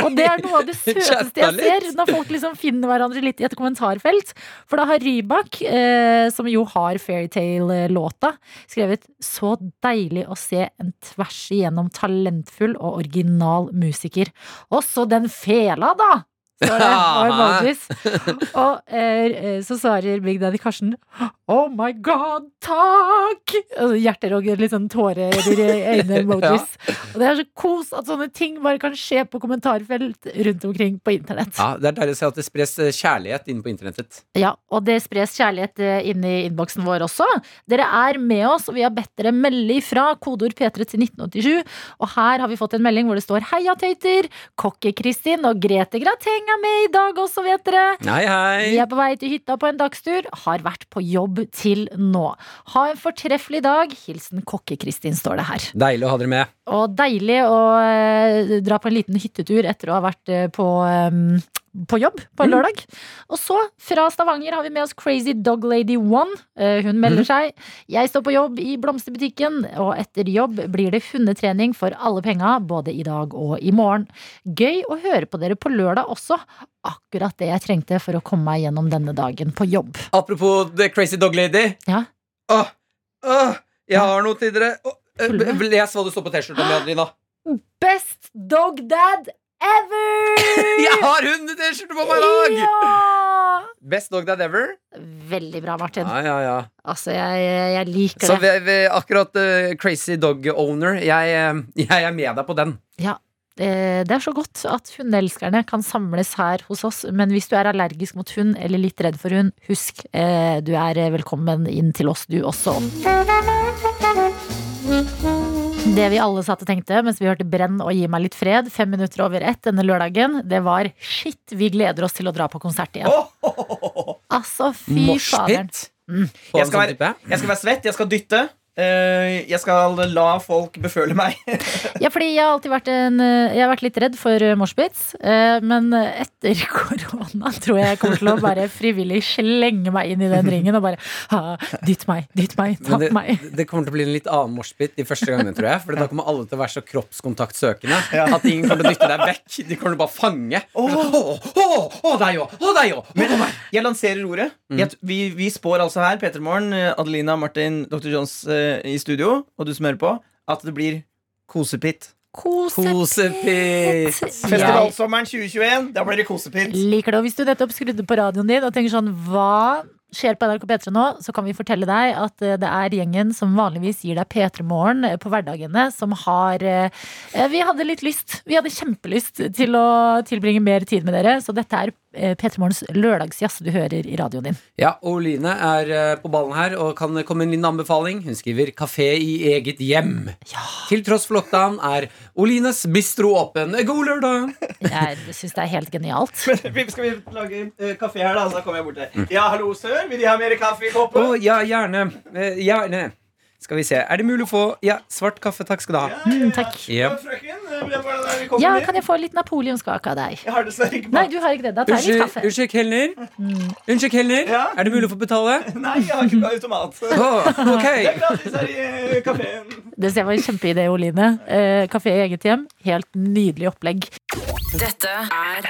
Speaker 2: Og det er noe av det søteste
Speaker 4: Chatta
Speaker 2: jeg
Speaker 4: litt.
Speaker 2: ser, når folk liksom finner hverandre litt i et kommentarfelt. For da har Rybak, eh, som jo har Fairytale-låta, skrevet 'Så deilig å se en tvers igjennom talentfull og original musiker'. Og så den fela, da! Står det, og emojis. Og eh, eh, så svarer Big Daddy Karsten 'Oh my god, takk!' Og Hjerter og litt sånn tårer i øynene. Emojis. Og det er så kos at sånne ting bare kan skje på kommentarfelt rundt omkring på internett.
Speaker 4: Ja, det er deilig å se at det spres eh, kjærlighet inne på internettet.
Speaker 2: Ja, og det spres kjærlighet eh, inn i innboksen vår også. Dere er med oss, og vi har bedt dere melde ifra. Kodeord P3 til 1987. Og her har vi fått en melding hvor det står 'Heia tøyter'. Kokke-Kristin og Grete Grateng er med i dag også, vet dere.
Speaker 4: Hei, hei!
Speaker 2: Vi er på vei til hytta på en dagstur. Har vært på jobb til nå. Ha en fortreffelig dag. Hilsen Kokke-Kristin, står det her.
Speaker 4: Deilig å ha dere med.
Speaker 2: Og deilig å eh, dra på en liten hyttetur etter å ha vært eh, på eh, på jobb på en lørdag. Og så, fra Stavanger, har vi med oss Crazy Dog Lady One. Eh, Hun melder seg. Jeg står på jobb i blomsterbutikken, og etter jobb blir det hundetrening for alle penga, både i dag og i morgen. Gøy å høre på dere på lørdag også. Akkurat det jeg trengte for å komme meg gjennom denne dagen på jobb.
Speaker 4: Apropos The Crazy Dog Lady.
Speaker 2: Ja.
Speaker 4: Åh, åh, Jeg har noe til dere. Å, eh,
Speaker 2: Tuller du?
Speaker 4: b- Les hva det står på T-skjorta mi, Adelina.
Speaker 2: Best dog dad ever!
Speaker 4: Jeg har hunde-T-skjorte på meg i dag!
Speaker 2: Ja!
Speaker 4: Best dog that ever.
Speaker 2: Veldig bra, Martin.
Speaker 4: Ja, ja, ja.
Speaker 2: Altså, jeg, jeg liker
Speaker 4: Så
Speaker 2: det.
Speaker 4: vi, vi, akkurat eh, Crazy Dog Owner, jeg, eh, jeg er med deg på den.
Speaker 2: Eh, Det er så godt at hundeelskerne kan samles her hos oss. Men hvis du er allergisk mot hund eller litt redd for hund, husk eh, du er velkommen inn til oss, du også. Det vi alle satt og tenkte mens vi hørte Brenn og Gi meg litt fred fem minutter over ett denne lørdagen, det var shit, vi gleder oss til å dra på konsert igjen. Altså, fy faderen. Mm.
Speaker 4: Moshpit. På
Speaker 3: Jeg
Speaker 4: en
Speaker 3: skal
Speaker 4: sånn type.
Speaker 3: Jeg skal være svett, jeg skal dytte. eh, jeg skal la folk beføle meg.
Speaker 2: Ja, fordi jeg har alltid vært, en, eh, jeg har vært litt redd for eh, moshpits, eh, men eh, etter korona tror jeg jeg kommer til å bare frivillig slenge meg inn i den ringen og bare ha, dytt meg, dytt meg,
Speaker 4: Men
Speaker 2: tapp
Speaker 4: det,
Speaker 2: meg.
Speaker 4: det kommer til å bli en litt annen moshpit de første gangene, tror jeg. For da kommer alle til å være så kroppskontaktsøkende at ingen kommer til å dytte deg vekk. De kommer til å bare fange. Å, å, å, deg òg! Å, deg òg!
Speaker 3: Men jeg lanserer ordet.
Speaker 4: Mm.
Speaker 3: Jeg, vi, vi spår altså her, Peter Morgen, eh, Adelina, Martin, Dr. Jones eh, i studio, og du som hører på, at det blir kosepitt.
Speaker 4: Kosepitt.
Speaker 2: Jeg
Speaker 3: Festivalsommeren 2021, da blir det kosepitt.
Speaker 2: liker det. Og hvis du nettopp skrudde på radioen din og tenker sånn hva skjer på NRK P3 nå, så kan vi fortelle deg at eh, det er gjengen som vanligvis gir deg P3-morgen eh, på hverdagene, som har eh, Vi hadde litt lyst, vi hadde kjempelyst til å tilbringe mer tid med dere, så dette er eh, P3morgens lørdagsjazz du hører i radioen din.
Speaker 4: Ja, og Line er eh, på ballen her og kan komme med en liten anbefaling. Hun skriver 'Kafé i eget hjem'. Til tross for lockdown er Olines bistro åpen. Eh, God lørdag!
Speaker 2: Jeg syns det er helt genialt.
Speaker 3: Vi- Skal vi lage eh, kaffe her, da? Så kommer jeg bort der.
Speaker 4: Mm.
Speaker 3: Ja, hallo, sør. Vil De ha mer kaffe i
Speaker 4: Å,
Speaker 3: koppen?
Speaker 4: ja, gjerne. Eh, gjerne. Skal vi se. Er det mulig å få Ja, svart kaffe, takk skal du ha.
Speaker 2: Mm, takk.
Speaker 4: Ja.
Speaker 3: Frøken, eh, vil jeg bare ha den i koppen
Speaker 2: Ja,
Speaker 3: din?
Speaker 2: kan jeg få litt napoleonskake av deg?
Speaker 3: Jeg har dessverre ikke
Speaker 2: Nei,
Speaker 3: mat.
Speaker 2: du har ikke det. Da tar jeg litt
Speaker 4: Unnskyld,
Speaker 2: kaffe. Mm.
Speaker 4: unnskyld, kelner. Unnskyld, kelner.
Speaker 3: Ja?
Speaker 4: Er det mulig å få betale?
Speaker 3: Nei, jeg har ikke automat. Det
Speaker 4: Å,
Speaker 3: er
Speaker 4: ok.
Speaker 3: gratis her i eh, kafeen.
Speaker 2: Det ser jeg var en kjempeidé, Oline. Eh, Kafé i eget hjem. Helt nydelig opplegg.
Speaker 7: Dette er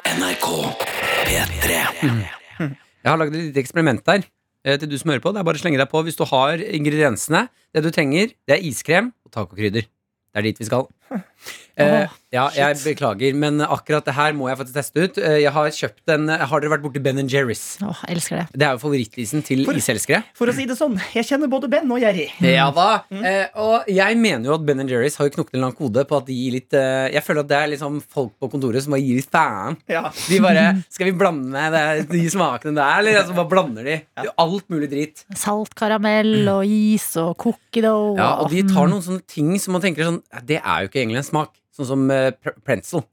Speaker 4: Jeg har lagd et lite eksperiment der. eh, Til du som hører på. Det er bare å slenge deg på hvis du har ingrediensene. Det du trenger, det er iskrem og tacokrydder. Det er dit vi skal. Eh, ja, jeg beklager, men akkurat det her må jeg faktisk teste ut. Eh, Jeg har kjøpt en Har dere vært borti Ben Jerry's?
Speaker 2: Åh, jeg elsker det.
Speaker 4: Det er jo favorittisen til
Speaker 3: For- Mm.
Speaker 4: iselskere.
Speaker 3: For å si det sånn, jeg kjenner både Ben og Jerry.
Speaker 4: Ja da. Eh, og jeg mener jo at Ben Jerry's har jo knekt en eller annen kode på at de gir litt eh, Jeg føler at det er liksom folk på kontoret som bare gir litt faen.
Speaker 3: Ja.
Speaker 4: De bare Skal vi blande det, de smakene der, eller? Altså, bare blander de. Det er jo Alt mulig drit.
Speaker 2: Salt karamell og is og cookie dough.
Speaker 4: Ja, og de tar noen sånne ting som man tenker sånn "Ja, Det er jo ikke egentlig en smak. Sånn som eh, pre- pretzel.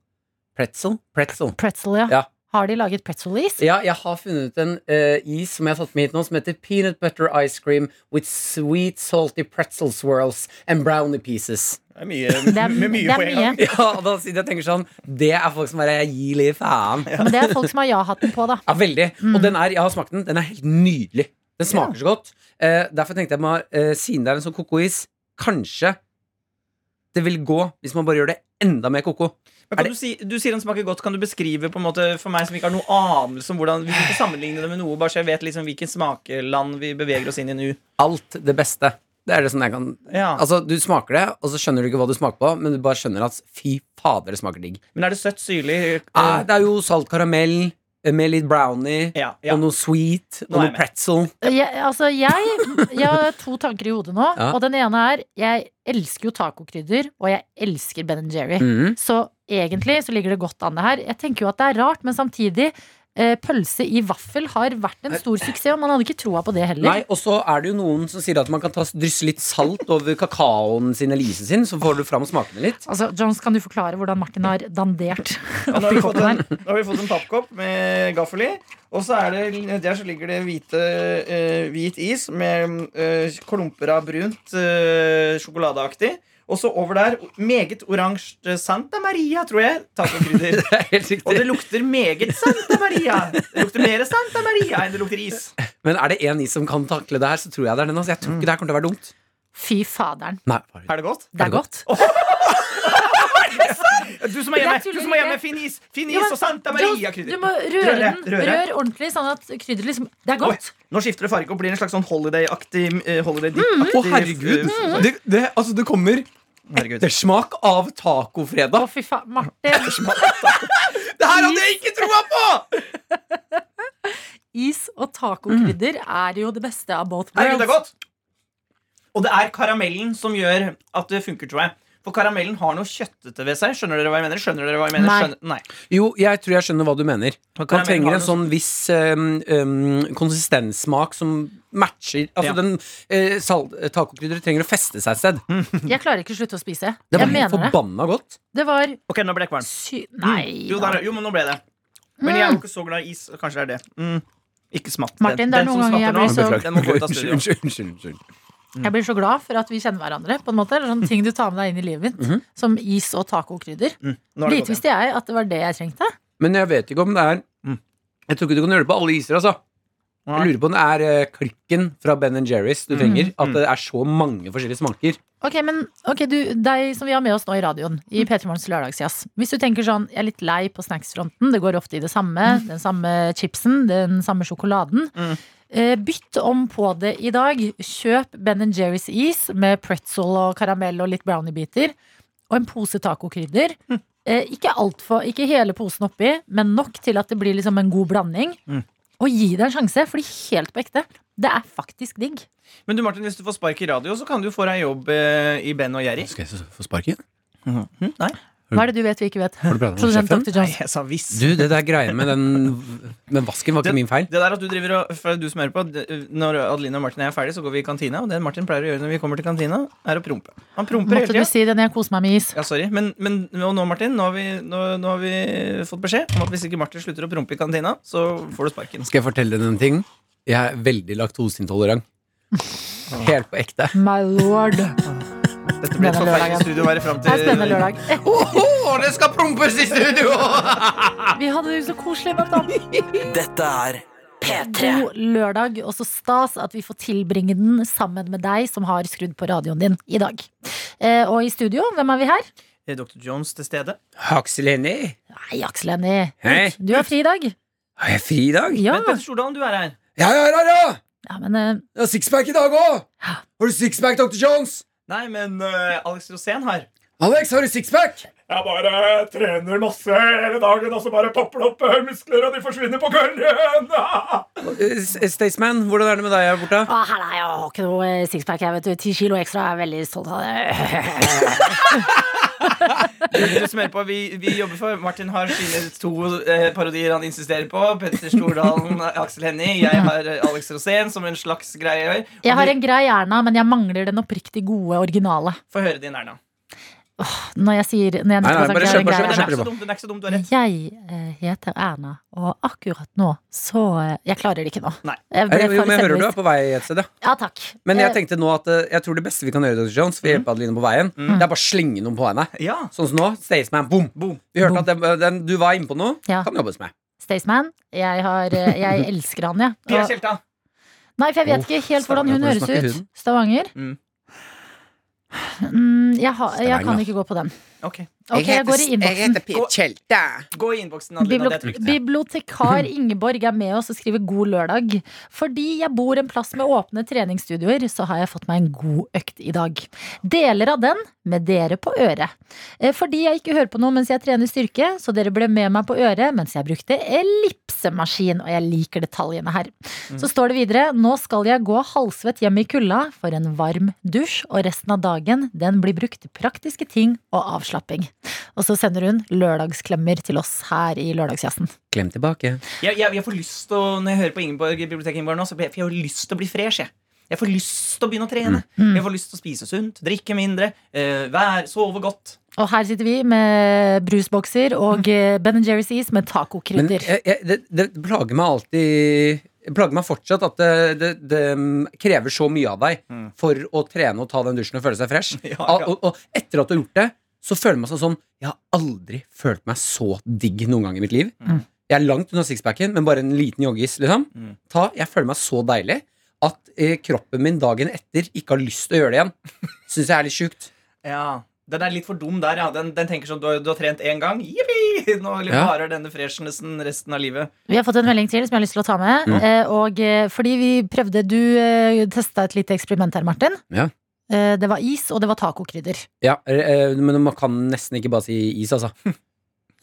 Speaker 4: Pretzel? Pretzel.
Speaker 2: Pretzel, ja.
Speaker 4: Ja.
Speaker 2: Har de laget pretzel-is?
Speaker 4: Ja, jeg har funnet ut en eh, is som jeg har tatt med hit nå, som heter peanut butter ice cream with sweet salty pretzel swirls and brownie pieces.
Speaker 3: Det er mye,
Speaker 2: Det er,
Speaker 3: med mye
Speaker 2: det
Speaker 3: på
Speaker 2: er
Speaker 3: en
Speaker 2: mye.
Speaker 3: gang.
Speaker 4: Ja, og da sitter jeg og tenker sånn Det er folk som bare Jeg gir litt faen Ja,
Speaker 2: Men det er folk som har ja-hatten på, da.
Speaker 4: veldig
Speaker 3: Mm.
Speaker 4: Og den er, jeg har smakt den Den er helt nydelig Den smaker så godt eh, Derfor tenkte jeg meg eh, Siden det er en sånn kokois Kanskje Det vil gå Hvis man bare gjør det enda mer koko
Speaker 3: Men
Speaker 4: Er
Speaker 3: kan du, si, du sier den smaker godt. Kan du beskrive på en måte for meg som ikke har noe anelse om hvordan Vi kan ikke sammenligne det med noe, bare så jeg vet liksom hvilken smakeland vi beveger oss inn i nå.
Speaker 4: Alt det beste Det er det som jeg kan
Speaker 3: Ja.
Speaker 4: Altså, du smaker det Og så skjønner du ikke hva du smaker på Men du bare skjønner at Fy fader, det smaker digg
Speaker 3: Men er det søtt, syrlig eh,
Speaker 4: ah, Det er jo salt karamell eh, Med litt brownie
Speaker 3: Ja, ja.
Speaker 4: Og noe sweet Og
Speaker 3: Nå er jeg
Speaker 4: noe
Speaker 3: med.
Speaker 4: pretzel
Speaker 2: Jeg, altså, jeg, jeg har to tanker i hodet nå.
Speaker 4: Ja.
Speaker 2: Og den ene er jeg elsker jo tacokrydder, og jeg elsker Ben Jerry.
Speaker 3: Mm.
Speaker 4: Mhm.
Speaker 2: Så egentlig så ligger det godt an det her. Jeg tenker jo at det er rart, men samtidig eh, Pølse i vaffel har vært en stor suksess, og man hadde ikke troa på det heller.
Speaker 4: Nei, og så er det jo noen som sier at man kan ta, drysse litt salt over kakaoen sin eller isen sin, så får du fram smakene litt.
Speaker 2: Altså, Jones, kan du forklare hvordan Martin har dandert
Speaker 3: Nå har,
Speaker 2: oppi
Speaker 3: vi fått
Speaker 2: koppen
Speaker 3: en,
Speaker 2: her?
Speaker 3: nå har vi fått en pappkopp med gaffel i. Og så er det, der så ligger det hvite, eh, hvit is med eh, klumper av brunt eh, sjokoladeaktig. Og så over der meget oransje Santa Maria, tror jeg. Tacokrydder.
Speaker 4: Det er helt
Speaker 3: Og det
Speaker 4: riktig.
Speaker 3: lukter meget Santa Maria. Det lukter mer Santa Maria enn det lukter is.
Speaker 4: Men er det én is som kan takle det her, så tror jeg det er den. Altså. Jeg tror ikke det her kommer til å være dumt.
Speaker 2: Fy faderen.
Speaker 4: Nei, bare-
Speaker 3: Er det godt?
Speaker 2: Det er godt.
Speaker 3: Du som er hjemme,
Speaker 2: Jeg tuller
Speaker 3: du som er hjemme
Speaker 2: ikke.
Speaker 3: fin is! Fin
Speaker 2: Jo,
Speaker 3: is
Speaker 2: men
Speaker 3: og Santa
Speaker 2: du, du
Speaker 3: Maria-krydder.
Speaker 2: må røre
Speaker 3: Røre,
Speaker 2: den
Speaker 3: røre.
Speaker 2: Rør ordentlig, sånn at krydderet liksom Det er godt.
Speaker 3: Oi, Nå skifter det farge og blir en slags sånn holiday-aktig eh, Holiday
Speaker 2: Mm.
Speaker 4: Å, herregud! Det, det, altså, det kommer ettersmak av
Speaker 2: Å,
Speaker 4: tacofredag.
Speaker 2: fy faen. Martin.
Speaker 4: Det her hadde jeg ikke troa på!
Speaker 2: Is og tacokrydder er jo det beste av both
Speaker 3: Herregud, det er
Speaker 2: worlds.
Speaker 3: godt! Og det er karamellen som gjør at det funker, tror jeg. For karamellen har noe kjøttete ved seg. Skjønner dere hva jeg mener? Skjønner dere hva jeg mener?
Speaker 2: Nei.
Speaker 3: Skjønner, nei.
Speaker 4: Jo, jeg tror jeg skjønner hva du mener. Man
Speaker 3: karamell har
Speaker 4: trenger en
Speaker 3: noe
Speaker 4: sånn viss øhm, øhm, konsistenssmak som matcher Altså
Speaker 3: Ja.
Speaker 4: den eh, salt- Tacokrydderet trenger å feste seg et sted.
Speaker 2: Jeg klarer ikke å slutte å spise.
Speaker 4: Det
Speaker 2: Jeg
Speaker 4: var helt
Speaker 2: mener det.
Speaker 4: forbanna godt.
Speaker 2: Det var
Speaker 3: Ok, nå ble jeg kvalm. Mm.
Speaker 2: sy... Nei.
Speaker 3: Jo,
Speaker 2: da. Mm.
Speaker 3: der, jo, men nå ble det. Men jeg er jo ikke så glad i is. og Kanskje det er det. Mm. Ikke smatt. den.
Speaker 2: Martin, det er
Speaker 3: Den som
Speaker 2: noen ganger jeg
Speaker 3: smatter nå,
Speaker 2: blir så-
Speaker 3: Den må gå ut av
Speaker 4: Unnskyld,
Speaker 3: studio.
Speaker 4: unnskyld, unnskyld, unnskyld.
Speaker 2: Jeg blir så glad for at vi kjenner hverandre. På en måte Eller sånne ting du tar med deg inn i livet mitt. Som is og tacokrydder.
Speaker 3: Mhm. Nå er
Speaker 2: Lite
Speaker 3: det godt igjen.
Speaker 2: visste jeg at det var det jeg trengte.
Speaker 4: Men jeg vet ikke om det er
Speaker 3: Mm.
Speaker 4: Jeg tror ikke du kan gjøre det på alle iser, altså.
Speaker 3: Nei.
Speaker 4: Jeg lurer på om det er eh, klikken fra Ben Jerry's du trenger. At
Speaker 3: Mm.
Speaker 4: det er så mange forskjellige smaker.
Speaker 2: Ok, men ok, du, deg som vi har med oss nå i radioen i
Speaker 4: Mm.
Speaker 2: P3 Morgens lørdagsjazz. Hvis du tenker sånn, jeg er litt lei på snacksfronten, det går ofte i det samme,
Speaker 4: Mm.
Speaker 2: den samme chipsen, den samme sjokoladen.
Speaker 3: Mm.
Speaker 2: Eh, bytt om på det i dag. Kjøp Ben Jerry's is med pretzel og karamell og litt browniebiter. Og en pose tacokrydder.
Speaker 4: Mm.
Speaker 2: Eh, ikke, alt for, ikke hele posen oppi, men nok til at det blir liksom en god blanding.
Speaker 3: Mm.
Speaker 2: Og gi det en sjanse, fordi helt på ekte, det er faktisk digg.
Speaker 3: Men du, Martin, hvis du får spark i radio, så kan du få deg jobb eh, i Ben og Jerry.
Speaker 4: Skal jeg få sparken? Mm-hmm.
Speaker 3: Nei,
Speaker 2: Hva er det du vet vi ikke vet?
Speaker 4: Har du pratet med
Speaker 2: Produsent
Speaker 4: sjefen?
Speaker 2: Dr. Jones.
Speaker 3: jeg sa hvis.
Speaker 4: Du, det der greia med den Men vasken var ikke min feil.
Speaker 3: Det der at du driver og, for du som hører på det- Når Adeline og Martin og jeg er ferdig, så går vi i kantina. Og det Martin pleier å gjøre når vi kommer til kantina, er å prompe. Han promper hele
Speaker 2: Måtte du
Speaker 3: tida.
Speaker 2: si det når jeg koser meg med is?
Speaker 3: Ja, sorry. Men, men og nå, Martin, nå har, vi, nå, nå har vi fått beskjed om at hvis ikke Martin slutter å prompe i kantina, så får du sparken.
Speaker 4: Skal jeg fortelle deg en ting? Jeg er veldig laktoseintolerant. Helt på ekte.
Speaker 2: My lord. Det
Speaker 3: Dette blir et
Speaker 2: Denne lørdagen.
Speaker 3: forferdelig studio å være fram
Speaker 2: er en spennende
Speaker 3: til.
Speaker 2: lørdag. Eh,
Speaker 4: Åh, det skal prompes i studio!
Speaker 2: Vi hadde det jo så koselig, Martin.
Speaker 5: Dette er
Speaker 7: P3.
Speaker 2: God lørdag, og så stas at vi får tilbringe den sammen med deg som har skrudd på radioen din i dag. Eh, og i studio, hvem er vi her?
Speaker 3: Er Dr. Eh, Jones til stede?
Speaker 4: Aksel Hennie,
Speaker 2: Nei, Aksel Hennie.
Speaker 4: Hei.
Speaker 2: Du har fri i dag.
Speaker 4: har jeg fri i dag?
Speaker 2: Ja,
Speaker 3: Men Petter Stordalen, du er her.
Speaker 4: Ja, ja, ja, ja!
Speaker 2: ja men eh,
Speaker 4: Jeg har sixpack i dag òg! Har du sixpack, Dr. Jones?
Speaker 3: Nei, men eh, Alex Rosén her.
Speaker 4: Alex, har du sixpack?
Speaker 5: Jeg bare trener masse hele dagen, og så bare popper det opp eh, muskler, og de forsvinner på kvelden.
Speaker 4: eh, Staysman, hvordan er det med deg her borte?
Speaker 2: å, her er jeg, jeg har ikke noe eh, sixpack, jeg vet du. Ti kilo ekstra, jeg er veldig stolt av det.
Speaker 3: Du som hører på, vi, vi jobber for Martin har sine to eh, parodier han insisterer på. Petter Stordalen, Aksel Hennie. Jeg har eh, Alex Rosén som en slags greie.
Speaker 2: Jeg har en grei Erna, men jeg mangler den oppriktig gode originale.
Speaker 3: Få høre din, Erna.
Speaker 2: Når jeg sier når jeg
Speaker 4: Nei, nei,
Speaker 2: nettopp har sagt jeg
Speaker 4: bare
Speaker 2: har en
Speaker 4: kjør, bare
Speaker 2: grei Erna.
Speaker 3: Men den er
Speaker 4: kjør, kjemper
Speaker 3: ikke
Speaker 4: bra.
Speaker 3: så dum. den er ikke så dum, Du har rett.
Speaker 2: Jeg eh, heter Erna, og akkurat nå så eh, Jeg klarer det ikke nå.
Speaker 3: Nei.
Speaker 2: Jeg ble
Speaker 4: Eh, Jo, men jeg
Speaker 2: for
Speaker 4: hører du
Speaker 2: selvbevisst.
Speaker 4: er på vei et sted, ja.
Speaker 2: Ja, takk.
Speaker 4: Men jeg
Speaker 2: Eh, Mm.
Speaker 4: tenkte nå at eh, jeg tror det beste vi kan gjøre, Dr. Jones, for å hjelpe Adeline på veien, det er bare å slenge noen på henne.
Speaker 3: Ja.
Speaker 4: Sånn som nå. Staysman, boom!
Speaker 3: Boom.
Speaker 4: Vi hørte at den, den du var inne på nå,
Speaker 2: Ja.
Speaker 4: kan jobbes med.
Speaker 2: Staysman, jeg, har, eh, jeg elsker han, jeg.
Speaker 3: Pia
Speaker 2: Og-
Speaker 3: Tjelta.
Speaker 2: Nei, for jeg vet ikke helt hvordan hun høres
Speaker 4: Stavanger, hvordan
Speaker 2: ut.
Speaker 4: smaker huden?
Speaker 2: Stavanger?
Speaker 3: Mm.
Speaker 2: Mm, jeg, har- jeg kan
Speaker 4: Stavanger.
Speaker 2: ikke gå på den.
Speaker 3: Ok.
Speaker 2: Ok, jeg går i innboksen.
Speaker 7: Kjelte.
Speaker 3: Gå i innboksen, Adelina. Det er
Speaker 2: Bibliot
Speaker 3: trygt.
Speaker 2: Bibliotekar Ingeborg er med oss og skriver 'God lørdag'. Fordi jeg bor en plass med åpne treningsstudioer, så har jeg fått meg en god økt i dag. Deler av den med dere på øret. Eh, Fordi jeg ikke hører på noe mens jeg trener styrke, så dere ble med meg på øret mens jeg brukte ellipsemaskin, og jeg liker detaljene her. Så står det videre 'Nå skal jeg gå halvsvett hjem i kulda for en varm dusj', og resten av dagen den blir brukt til praktiske ting og avslapping. Og så sender hun lørdagsklemmer til oss her i Lørdagsjazzen.
Speaker 4: Klem tilbake.
Speaker 3: Jeg, jeg, jeg får lyst til å, når jeg hører på Ingeborg, i biblioteket Ingeborg nå, så får jeg- jeg har lyst til å bli fresh. Jeg. Jeg får lyst til å begynne å trene. Jeg får lyst til å spise sunt, drikke mindre, eh, vær, sove godt.
Speaker 2: Og her sitter vi med brusbokser og eh, Ben Jerry's is med
Speaker 4: Mm. Men eh,
Speaker 2: tacokrydder.
Speaker 4: jeg, jeg, det, det plager meg alltid det plager meg fortsatt at det, det, det mm, krever så mye av deg for å trene og ta den dusjen og føle seg fresh.
Speaker 3: Mm. Ja,
Speaker 4: Al-
Speaker 3: ja.
Speaker 4: Og, og etter at du har gjort det, så føler man seg sånn Jeg har aldri følt meg så digg noen gang i mitt liv. Jeg er langt unna sixpacken, men bare en liten joggis. Liksom.
Speaker 3: Mm.
Speaker 4: Ta, jeg føler meg så deilig at eh, kroppen min dagen etter ikke har lyst til å gjøre det igjen. Syns jeg er litt sjukt.
Speaker 3: Ja. Den er litt for dum der, ja. Den, den tenker sånn du har, du har trent én gang. Jippi! Nå
Speaker 4: Ja.
Speaker 3: varer denne freshnessen resten av livet.
Speaker 2: Vi har fått en melding til som jeg har lyst til å ta med.
Speaker 4: Mm.
Speaker 2: Eh, og eh, fordi vi prøvde Du eh, testa et lite eksperiment her, Martin.
Speaker 4: Ja.
Speaker 2: Eh, det var is, og det var tacokrydder.
Speaker 4: Ja, eh, men man kan nesten ikke bare si is, altså.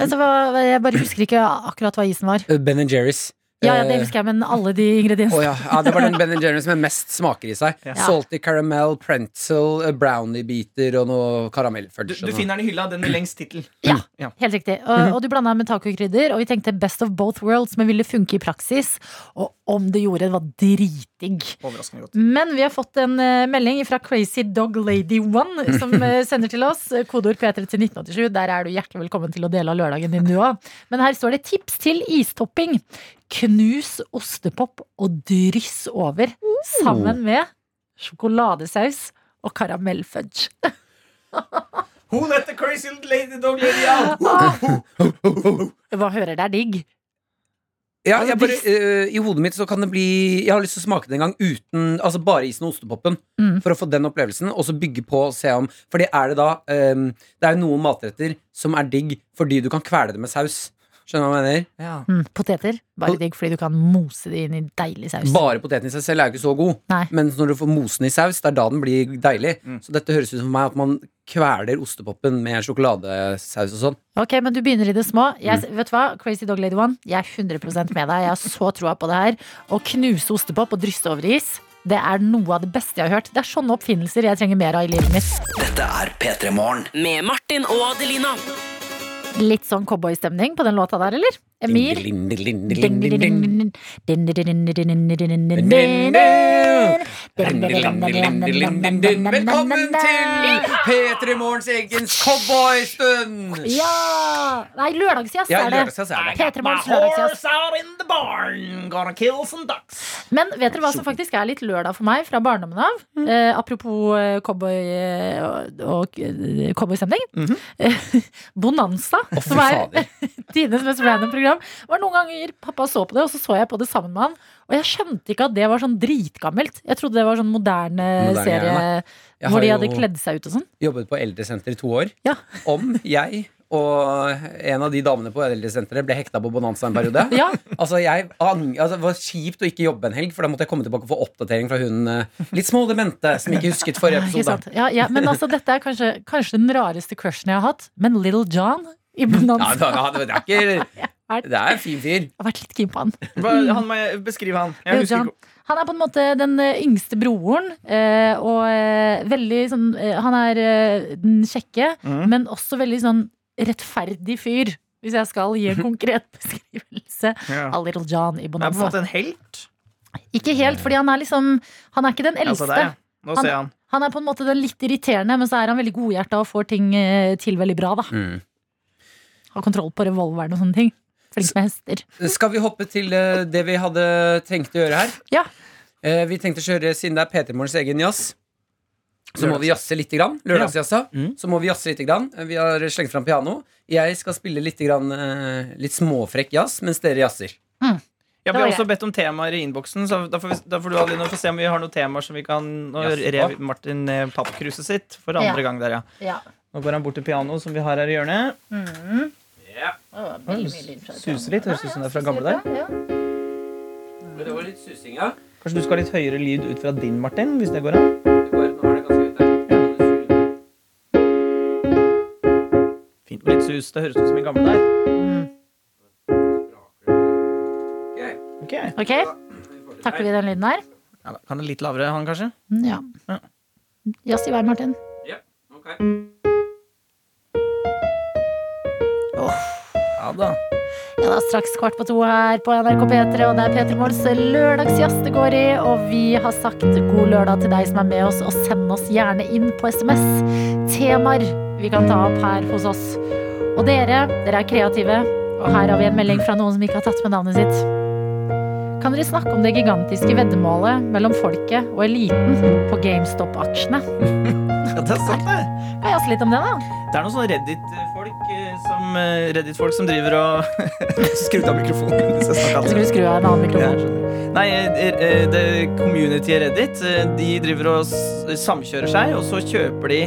Speaker 2: Altså, hva- hva- jeg bare husker ikke akkurat hva isen var.
Speaker 4: Eh, Ben Jerry's.
Speaker 2: Ja, ja, det
Speaker 4: Eh,
Speaker 2: husker jeg, men alle de ingrediensene.
Speaker 4: Å ja. ja, det var den Ben Jerry's med mest smaker i seg.
Speaker 3: Ja.
Speaker 4: Salty caramel, pretzel, eh, brownie-biter og noe
Speaker 3: Du,
Speaker 4: karamellfudge.
Speaker 3: du finner den i hylla, den med lengst tittel.
Speaker 2: Ja,
Speaker 3: Ja.
Speaker 2: helt riktig. Og,
Speaker 4: Mm.
Speaker 2: og du blanda med tacokrydder, og vi tenkte best of both worlds, men ville funke i praksis. Og om det gjorde, det var dritdigg.
Speaker 3: Overraskende godt.
Speaker 2: Men vi har fått en eh, melding fra Crazy Dog Lady One som eh, sender til oss. eh, Kodeord P3 til 1987. Der er du hjertelig velkommen til å dele av lørdagen din, du òg. Men her står det tips til istopping. Knus ostepop og dryss over sammen med sjokoladesaus og karamellfudge.
Speaker 3: Who let the crazy little lady dog lady out?
Speaker 2: Hva hører det er digg?
Speaker 4: Ja,
Speaker 2: Altså,
Speaker 4: jeg bare, eh, I hodet mitt så kan det bli Jeg har lyst til å smake det en gang uten Altså bare isen og ostepopen.
Speaker 2: Mm.
Speaker 4: For å få den opplevelsen, og så bygge på og se om For det er det da eh, Det er jo noen matretter som er digg fordi du kan kvele det med saus. Skjønner du hva jeg mener?
Speaker 2: Mm, poteter. Bare digg fordi du kan mose det inn i deilig saus.
Speaker 4: Bare poteten i seg selv er jo ikke så god,
Speaker 2: Nei.
Speaker 4: men når du får mosen i saus, det er da den blir deilig. Så dette høres ut som for meg at man kveler ostepopen med sjokoladesaus og sånn.
Speaker 2: Ok, men du begynner i det små. Jeg, Vet du hva, Crazy Dog Lady One, jeg er 100 med deg. Jeg har så troa på det her. Å knuse ostepop og drysse over is, det er noe av det beste jeg har hørt. Det er sånne oppfinnelser jeg trenger mer av i livet mitt.
Speaker 7: Dette er P3 Morgen. Med Martin og Adelina.
Speaker 2: Litt sånn cowboystemning på den låta der, eller? Emir?
Speaker 4: Ding, ding, ding, ding, ding, ding, ding, ding. Velkommen
Speaker 2: Velkommen
Speaker 4: til P3 Morgens egens cowboystund!
Speaker 2: Ja! Nei, lørdagsjazz
Speaker 4: Ja,
Speaker 2: er det.
Speaker 4: lørdagsjazz er det.
Speaker 2: P3
Speaker 3: My
Speaker 2: Morgens lørdagsjazz.
Speaker 3: horse out in the barn, gonna kill some ducks.
Speaker 2: Men vet dere hva som faktisk er litt lørdag for meg fra barndommen av?
Speaker 4: Mm.
Speaker 2: Eh, apropos eh, cowboy eh, og eh, cowboystemning. Eh, Bonanza, som er
Speaker 4: Mhm. fader.
Speaker 2: tidenes mest random program, var noen ganger pappa så på det, og så så jeg på det sammen med han. Og jeg skjønte ikke at det var sånn dritgammelt. Jeg trodde det var sånn moderne,
Speaker 4: Moderne
Speaker 2: serie
Speaker 4: gjerne. Jeg
Speaker 2: hvor
Speaker 4: har
Speaker 2: de
Speaker 4: jo-
Speaker 2: hadde kledd seg ut og sånn.
Speaker 4: Jobbet på eldresenter i to år.
Speaker 2: Ja.
Speaker 4: Om jeg og en av de damene på eldresenteret ble hekta på Bonanza en periode.
Speaker 2: Ja.
Speaker 4: Altså, jeg ang- altså, Det var kjipt å ikke jobbe en helg, for da måtte jeg komme tilbake og få oppdatering fra hun eh, litt smådemente som ikke husket forrige
Speaker 2: Ikke
Speaker 4: episode.
Speaker 2: sant? Ja, ja, men altså, dette er kanskje, kanskje den rareste crushen jeg har hatt, men Little John i Bonanza.
Speaker 4: Ja,
Speaker 2: Jeg
Speaker 4: da, da, det er ikke Det er en fin fyr.
Speaker 2: har vært litt keen på han.
Speaker 3: Hva- Han må jeg beskrive han. Jeg
Speaker 2: Little
Speaker 3: husker
Speaker 2: John.
Speaker 3: ikke.
Speaker 2: Han er på en måte den eh, yngste broren, eh, og eh, veldig sånn eh, Han er eh, den kjekke,
Speaker 3: Mhm.
Speaker 2: men også veldig sånn rettferdig fyr, hvis jeg skal gi en konkret beskrivelse
Speaker 3: Ja.
Speaker 2: av Little John i
Speaker 3: Han er på en
Speaker 2: Bonanza.
Speaker 3: måte en helt.
Speaker 2: Ikke helt, fordi han er liksom Han er ikke den eldste.
Speaker 3: Altså, der, ja. Nå
Speaker 2: Han-
Speaker 3: ser jeg han.
Speaker 2: Han er på en måte den litt irriterende, men så er han veldig godhjerta og får ting eh, til veldig bra, da.
Speaker 4: Mm.
Speaker 2: Har kontroll på revolveren og sånne ting. Flink med hester.
Speaker 4: Skal vi hoppe til eh, det vi hadde tenkt å gjøre her?
Speaker 2: Ja.
Speaker 4: Eh, Vi tenkte å kjøre, siden det er Peter Morgens egen jazz så må vi jazze litt. grann. Lørdagsjazza.
Speaker 3: Mm.
Speaker 4: Så må vi jazze litt. Grann. Vi har slengt fram piano. Jeg skal spille litt, grann, eh, litt småfrekk jazz mens dere jazzer.
Speaker 3: Ja,
Speaker 2: Det
Speaker 3: vi
Speaker 2: var
Speaker 3: har også
Speaker 2: greit.
Speaker 3: bedt om temaer i innboksen, så da får, vi, da får du Adeline, få se om vi har noen temaer som vi kan Nå
Speaker 4: Jaså.
Speaker 3: rev Martin ned pappkruset sitt for andre
Speaker 2: Ja.
Speaker 3: gang der, ja.
Speaker 2: Ja.
Speaker 3: Nå går han bort til pianoet som vi har her i hjørnet. Suser litt, høres ut som det er fra gamle dager.
Speaker 4: Det var litt susing, ja.
Speaker 3: Kanskje du skal ha litt høyere lyd ut fra din, Martin? Hvis det går an? Fint med litt sus. Det høres ut som i gamle dager. Ok.
Speaker 2: Ok, takler vi den lyden her?
Speaker 3: Ja, da kan det litt lavere, han kanskje?
Speaker 2: Mm, Ja.
Speaker 3: Ja.
Speaker 2: Jazz i vei, Martin.
Speaker 3: Ja da.
Speaker 2: Ja, det er straks kvart på to her på NRK P3, og det er P3 Morgens lørdagsjazz det går i. Og vi har sagt god lørdag til deg som er med oss, og send oss gjerne inn på SMS temaer vi kan ta opp her hos oss. Og dere, dere er kreative, og her har vi en melding fra noen som ikke har tatt med navnet sitt. Kan dere snakke om det gigantiske veddemålet mellom folket og eliten på GameStop-aksjene?
Speaker 3: Ja, det er sant, det.
Speaker 2: Kan jeg jazze litt om det, da?
Speaker 3: Det er noen sånne Reddit-folk eh, som, eh, Reddit-folk som driver og Skrudd av mikrofonen. hvis jeg snakker
Speaker 2: Jeg
Speaker 3: alt.
Speaker 2: skulle skru av en annen
Speaker 3: Ja,
Speaker 2: mikrofon.
Speaker 3: jeg skjønner. Nei, eh, eh, det community Reddit, eh, de driver og s- samkjører seg, og så kjøper de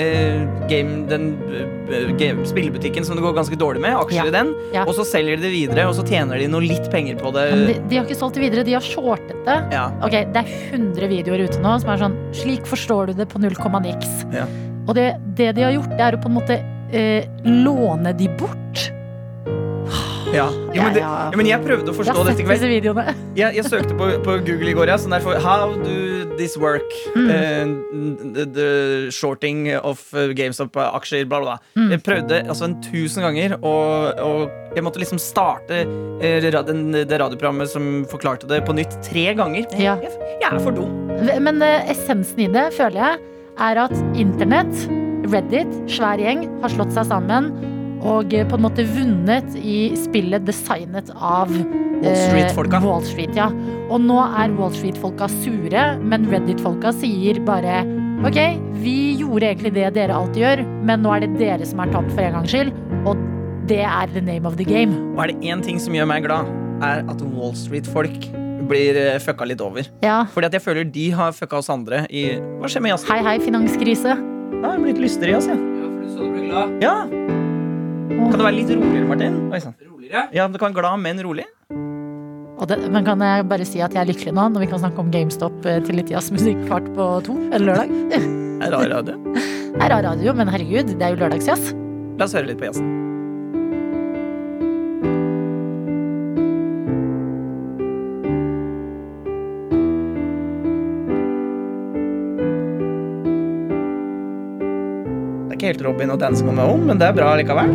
Speaker 3: eh, game, den eh, game, spillebutikken som det går ganske dårlig med, aksjer
Speaker 2: Ja.
Speaker 3: i den,
Speaker 2: Ja.
Speaker 3: og så selger de det videre, og så tjener de noe litt penger på det.
Speaker 2: Men de, de har ikke solgt det videre, de har shortet det.
Speaker 3: Ja.
Speaker 2: Ok, Det er 100 videoer ute nå som er sånn Slik forstår du det på 0,niks.
Speaker 3: Ja.
Speaker 2: Og det, det de har gjort, det er å på en måte eh, låne de bort.
Speaker 3: Ja. Jo, men, det,
Speaker 2: ja.
Speaker 3: ja, men jeg prøvde å
Speaker 2: Jeg
Speaker 3: forstå
Speaker 2: har sett
Speaker 3: dette. ikke vel? Eh,
Speaker 2: disse videoene.
Speaker 3: Jeg, jeg søkte på, på Google i går, ja, sånn der for How do this work?
Speaker 2: Mm.
Speaker 3: Eh, the, the shorting of eh, GameStop-aksjer, bla, bla.
Speaker 2: mm.
Speaker 3: bla. Jeg prøvde altså en tusen ganger, og, og jeg måtte liksom starte eh, ra- den, det radioprogrammet som forklarte det, på nytt tre ganger.
Speaker 2: Ja.
Speaker 3: Jeg, jeg er for dum.
Speaker 2: Men eh, essensen i det, føler jeg, er at internett, Reddit, svær gjeng, har slått seg sammen og eh, på en måte vunnet i spillet designet av eh,
Speaker 3: Street-folka.
Speaker 2: Wall Street, ja. Og nå er Wall Street-folka sure, men Reddit-folka sier bare OK, vi gjorde egentlig det dere alltid gjør, men nå er det dere som er tapt for en gangs skyld, og det er the name of the game.
Speaker 3: Og er det én ting som gjør meg glad, er at Wall Street-folk blir eh, fucka litt over.
Speaker 2: Ja.
Speaker 3: Fordi at jeg føler de har fucka oss andre i Hva skjer med jazzen?
Speaker 2: Hei, hei, finanskrise.
Speaker 3: Jeg har blitt lystigere i jazz, jeg.
Speaker 4: for du så du ble glad.
Speaker 3: Ja. Kan det være litt roligere, Martin? Oi sann.
Speaker 4: Roligere.
Speaker 3: Ja, du kan glad, men rolig?
Speaker 2: Og det, men kan jeg bare si at jeg er lykkelig nå, når vi kan snakke om GameStop eh, til litt jazzmusikk kvart på to? Eller lørdag?
Speaker 3: Det er Rar radio.
Speaker 2: Det er rar radio, men herregud, det er jo lørdagsjazz.
Speaker 3: La oss høre litt på jazzen. Det er ikke helt Robin og Dancing on my own, men det er bra likevel.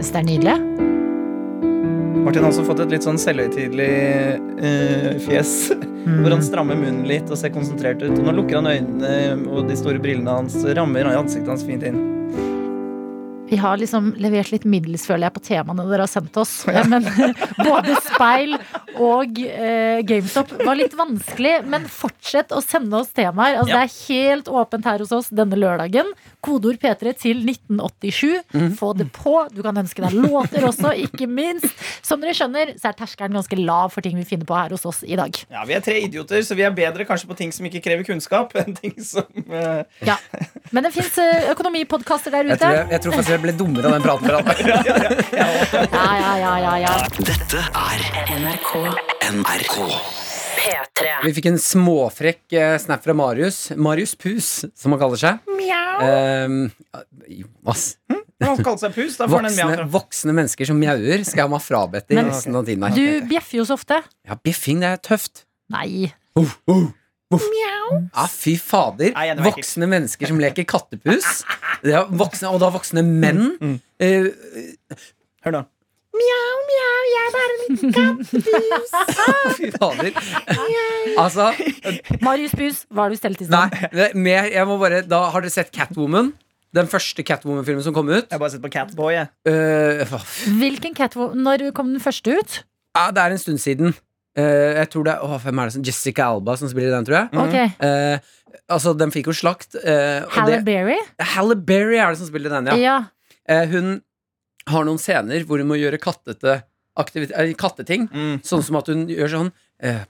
Speaker 2: Så det er nydelig.
Speaker 3: Martin har også fått et litt sånn selvhøytidelig eh, fjes. Hvor han strammer munnen litt og ser konsentrert ut. Og nå lukker han øynene, og de store brillene hans rammer ansiktet hans fint inn.
Speaker 2: Vi har liksom levert litt middels, føler jeg, på temaene dere har sendt oss. Men eh, både speil og eh, GameStop var litt vanskelig. Men fortsett å sende oss temaer. Altså,
Speaker 3: Ja.
Speaker 2: Det er helt åpent her hos oss denne lørdagen. Kodeord P3 til 1987.
Speaker 4: Mhm.
Speaker 2: Få det på. Du kan ønske deg låter også, ikke minst. Som dere skjønner, så er terskelen ganske lav for ting vi finner på her hos oss i dag.
Speaker 3: Ja, Vi er tre idioter, så vi er bedre kanskje på ting som ikke krever kunnskap. enn ting som... eh,
Speaker 2: Ja. Men det fins økonomipodkaster der
Speaker 4: Jeg
Speaker 2: ute.
Speaker 4: tror, jeg, jeg tror faktisk jeg ble dummere av den praten. Med deg.
Speaker 2: Ja, ja, ja, ja, ja.
Speaker 7: Dette er
Speaker 8: NRK
Speaker 7: NRK.
Speaker 8: P3
Speaker 4: Vi fikk en småfrekk eh, snap fra Marius. Marius Pus, som han kaller seg. Ehm, ja, Jonas.
Speaker 3: Han kalte seg Pus. da får han en mjau
Speaker 4: Voksne,
Speaker 3: fra.
Speaker 4: voksne mennesker som mjauer, skal jeg ha meg frabedt i
Speaker 2: Men-
Speaker 4: resten av tiden.
Speaker 2: Du
Speaker 4: her.
Speaker 2: bjeffer jo så ofte.
Speaker 4: Ja, Bjeffing, det er tøft.
Speaker 2: Nei.
Speaker 4: Ja, fy
Speaker 3: Nei,
Speaker 4: fader.
Speaker 3: det var ekkelt.
Speaker 4: voksne mennesker som leker kattepus. Det er voksne, og da voksne menn. Eh,
Speaker 3: Mm, Hør nå.
Speaker 4: fy fader. altså,
Speaker 2: Marius Bus, hva har du stelt i stand?
Speaker 4: nei. det- Med, jeg må bare, da har dere sett Catwoman? Den første Catwoman-filmen som kom ut?
Speaker 3: Jeg har bare sett på Catboy. jeg.
Speaker 4: Eh,
Speaker 2: Hvilken Catwoman Når kom den første ut?
Speaker 4: ja, det er en stund siden. Eh, jeg tror det er, åh, hvem er det som Jessica Alba som spiller i den, tror jeg.
Speaker 2: Ok,
Speaker 4: Eh, altså, den fikk jo slakt. eh, og
Speaker 2: Halle
Speaker 4: det-
Speaker 2: Berry?
Speaker 4: Halle Berry er det som spiller den, ja.
Speaker 2: Ja.
Speaker 4: Eh, hun har noen scener hvor hun må gjøre kattete aktivit- eh, katteting.
Speaker 3: Mm.
Speaker 4: Sånn som at hun gjør sånn eh,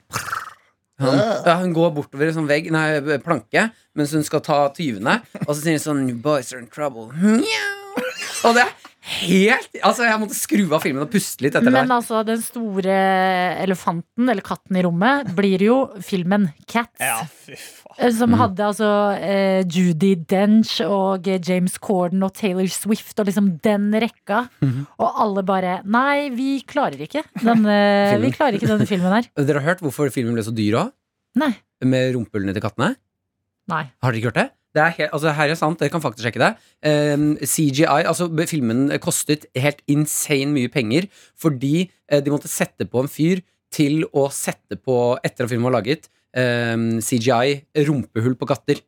Speaker 4: hun, ja, hun går bortover en sånn vegg, nei, planke mens hun skal ta tyvene. Og så sier hun sånn "You Boys are in trouble. Mjau. Og det er helt Altså, jeg måtte skru av filmen og puste litt etter det.
Speaker 2: Men
Speaker 4: her.
Speaker 2: altså, den store elefanten, eller katten i rommet, blir jo filmen Cats.
Speaker 3: Ja, fy faen.
Speaker 2: eh,
Speaker 4: Mm.
Speaker 2: Som hadde altså eh, Judy Dench og eh, James Corden og Taylor Swift og liksom den rekka.
Speaker 4: Mhm.
Speaker 2: Og alle bare Nei, vi klarer ikke denne, vi
Speaker 4: Filmen.
Speaker 2: klarer ikke denne filmen her.
Speaker 4: Dere har hørt hvorfor filmen ble så dyr òg?
Speaker 2: Nei.
Speaker 4: Med rumpehullene til kattene?
Speaker 2: Nei.
Speaker 4: Har dere ikke hørt det? Det er helt, altså her er sant, dere kan faktisk sjekke det. Ehm, CGI, altså b- filmen kostet helt insane mye penger fordi eh, de måtte sette på en fyr til å sette på, etter at filmen var laget, ehm, CGI rumpehull på katter.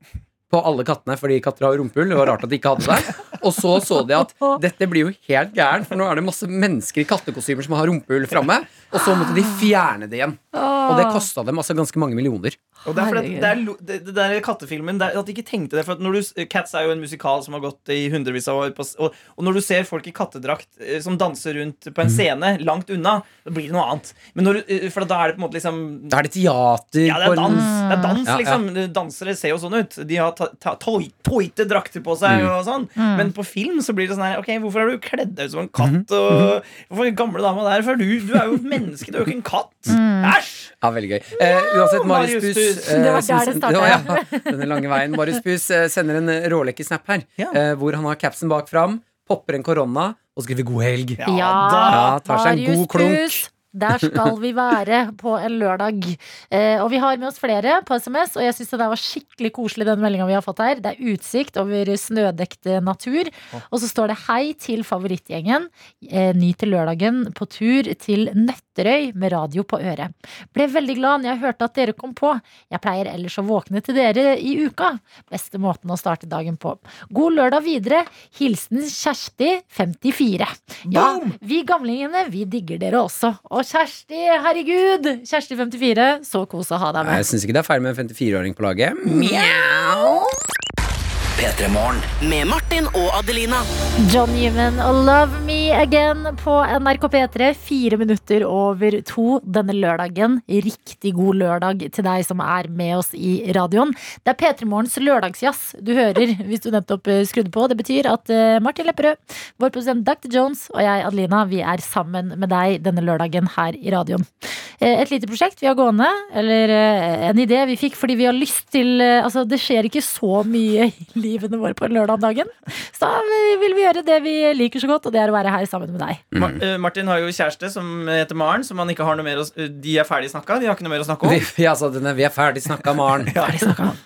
Speaker 4: På alle kattene, fordi katter har rumpehull. Det var rart at de ikke hadde det. Og så så de at dette blir jo helt gærent, for nå er det masse mennesker i kattekostymer som har rumpehull framme. Og så måtte de fjerne det igjen. Og det kosta dem altså ganske mange millioner.
Speaker 3: Og det er fordi
Speaker 2: Herregud.
Speaker 3: at det, er, lo- det, det der kattefilmen det er, At de ikke tenkte det. For at når du, s- Cats er jo en musikal som har gått i hundrevis av år. På, s- og, og når du ser folk i kattedrakt eh, som danser rundt på en scene langt unna, da blir det noe annet. Men når, du- eh, for da er det på en måte liksom
Speaker 4: Da er det teater.
Speaker 3: ja, det
Speaker 4: på
Speaker 3: er
Speaker 4: en-
Speaker 3: dans, det er dans
Speaker 4: Ja, ja.
Speaker 3: liksom. Dansere ser jo sånn ut. De har ta, ta, toi- toite drakter på seg.
Speaker 4: Mm.
Speaker 3: Og sånn Men på film så blir det sånn her Ok, Hvorfor er du kledd deg ut som en
Speaker 4: Mm-hmm.
Speaker 3: katt? Og hvorfor er den gamle dama der? For du, du er jo et menneske, du er jo ikke en katt. Æsj!
Speaker 4: Ja, veldig gøy. Eh, uansett, Marius
Speaker 3: Marius
Speaker 4: Buss
Speaker 3: Buss.
Speaker 4: eh,
Speaker 2: Det var der
Speaker 4: som-
Speaker 2: det startet,
Speaker 4: Å, ja. Denne lange veien. Marius Buss eh, sender en eh, rålekesnap her,
Speaker 3: Ja.
Speaker 4: eh, hvor han har capsen bak fram, popper en korona og skriver 'god helg'.
Speaker 3: Ja, da-
Speaker 4: Ja, tar seg en god klunk.
Speaker 2: Marius Buss, Der skal vi være på en lørdag. Eh, og vi har med oss flere på SMS, og jeg syns det der var skikkelig koselig, den meldinga vi har fått her. Det er utsikt over snødekte natur. Og så står det 'Hei til favorittgjengen. Eh, ny til lørdagen på tur til Nøtterøy med radio på øret'. Ble veldig glad når jeg hørte at dere kom på. Jeg pleier ellers å våkne til dere i uka. Beste måten å starte dagen på. God lørdag videre. Hilsen Kjersti, 54. Ja, vi gamlingene, vi digger dere også. Og Kjersti, herregud! Kjersti 54, så kos å ha deg
Speaker 4: Nei, Eh, Jeg
Speaker 2: med.
Speaker 4: syns ikke det er feil med en 54-åring på laget. Mjau!
Speaker 7: Med Martin og Adelina.
Speaker 2: John Newman og Love Me Again på NRK P3, fire minutter over to denne lørdagen. Riktig god lørdag til deg som er med oss i radioen. Det er P3 Morgens lørdagsjazz du hører hvis du nettopp eh, skrudde på. Det betyr at eh, Martin Lepperød, vår produsent Dr. Jones og jeg, Adelina, vi er sammen med deg denne lørdagen her i radioen. Eh, et lite prosjekt vi har gående, eller eh, en idé vi fikk fordi vi har lyst til eh, Altså, det skjer ikke så mye i livene våre på en lørdag om dagen. Så da eh, vil vi gjøre det vi liker så godt, og det er å være her sammen med deg.
Speaker 4: Mm-hmm.
Speaker 3: Ma eh, Martin har jo kjæreste som heter Maren, som han ikke har noe mer å s- De er ferdig snakka, de har ikke noe mer å snakke om.
Speaker 4: Vi, ja, så denne, vi er ferdig snakka, Maren.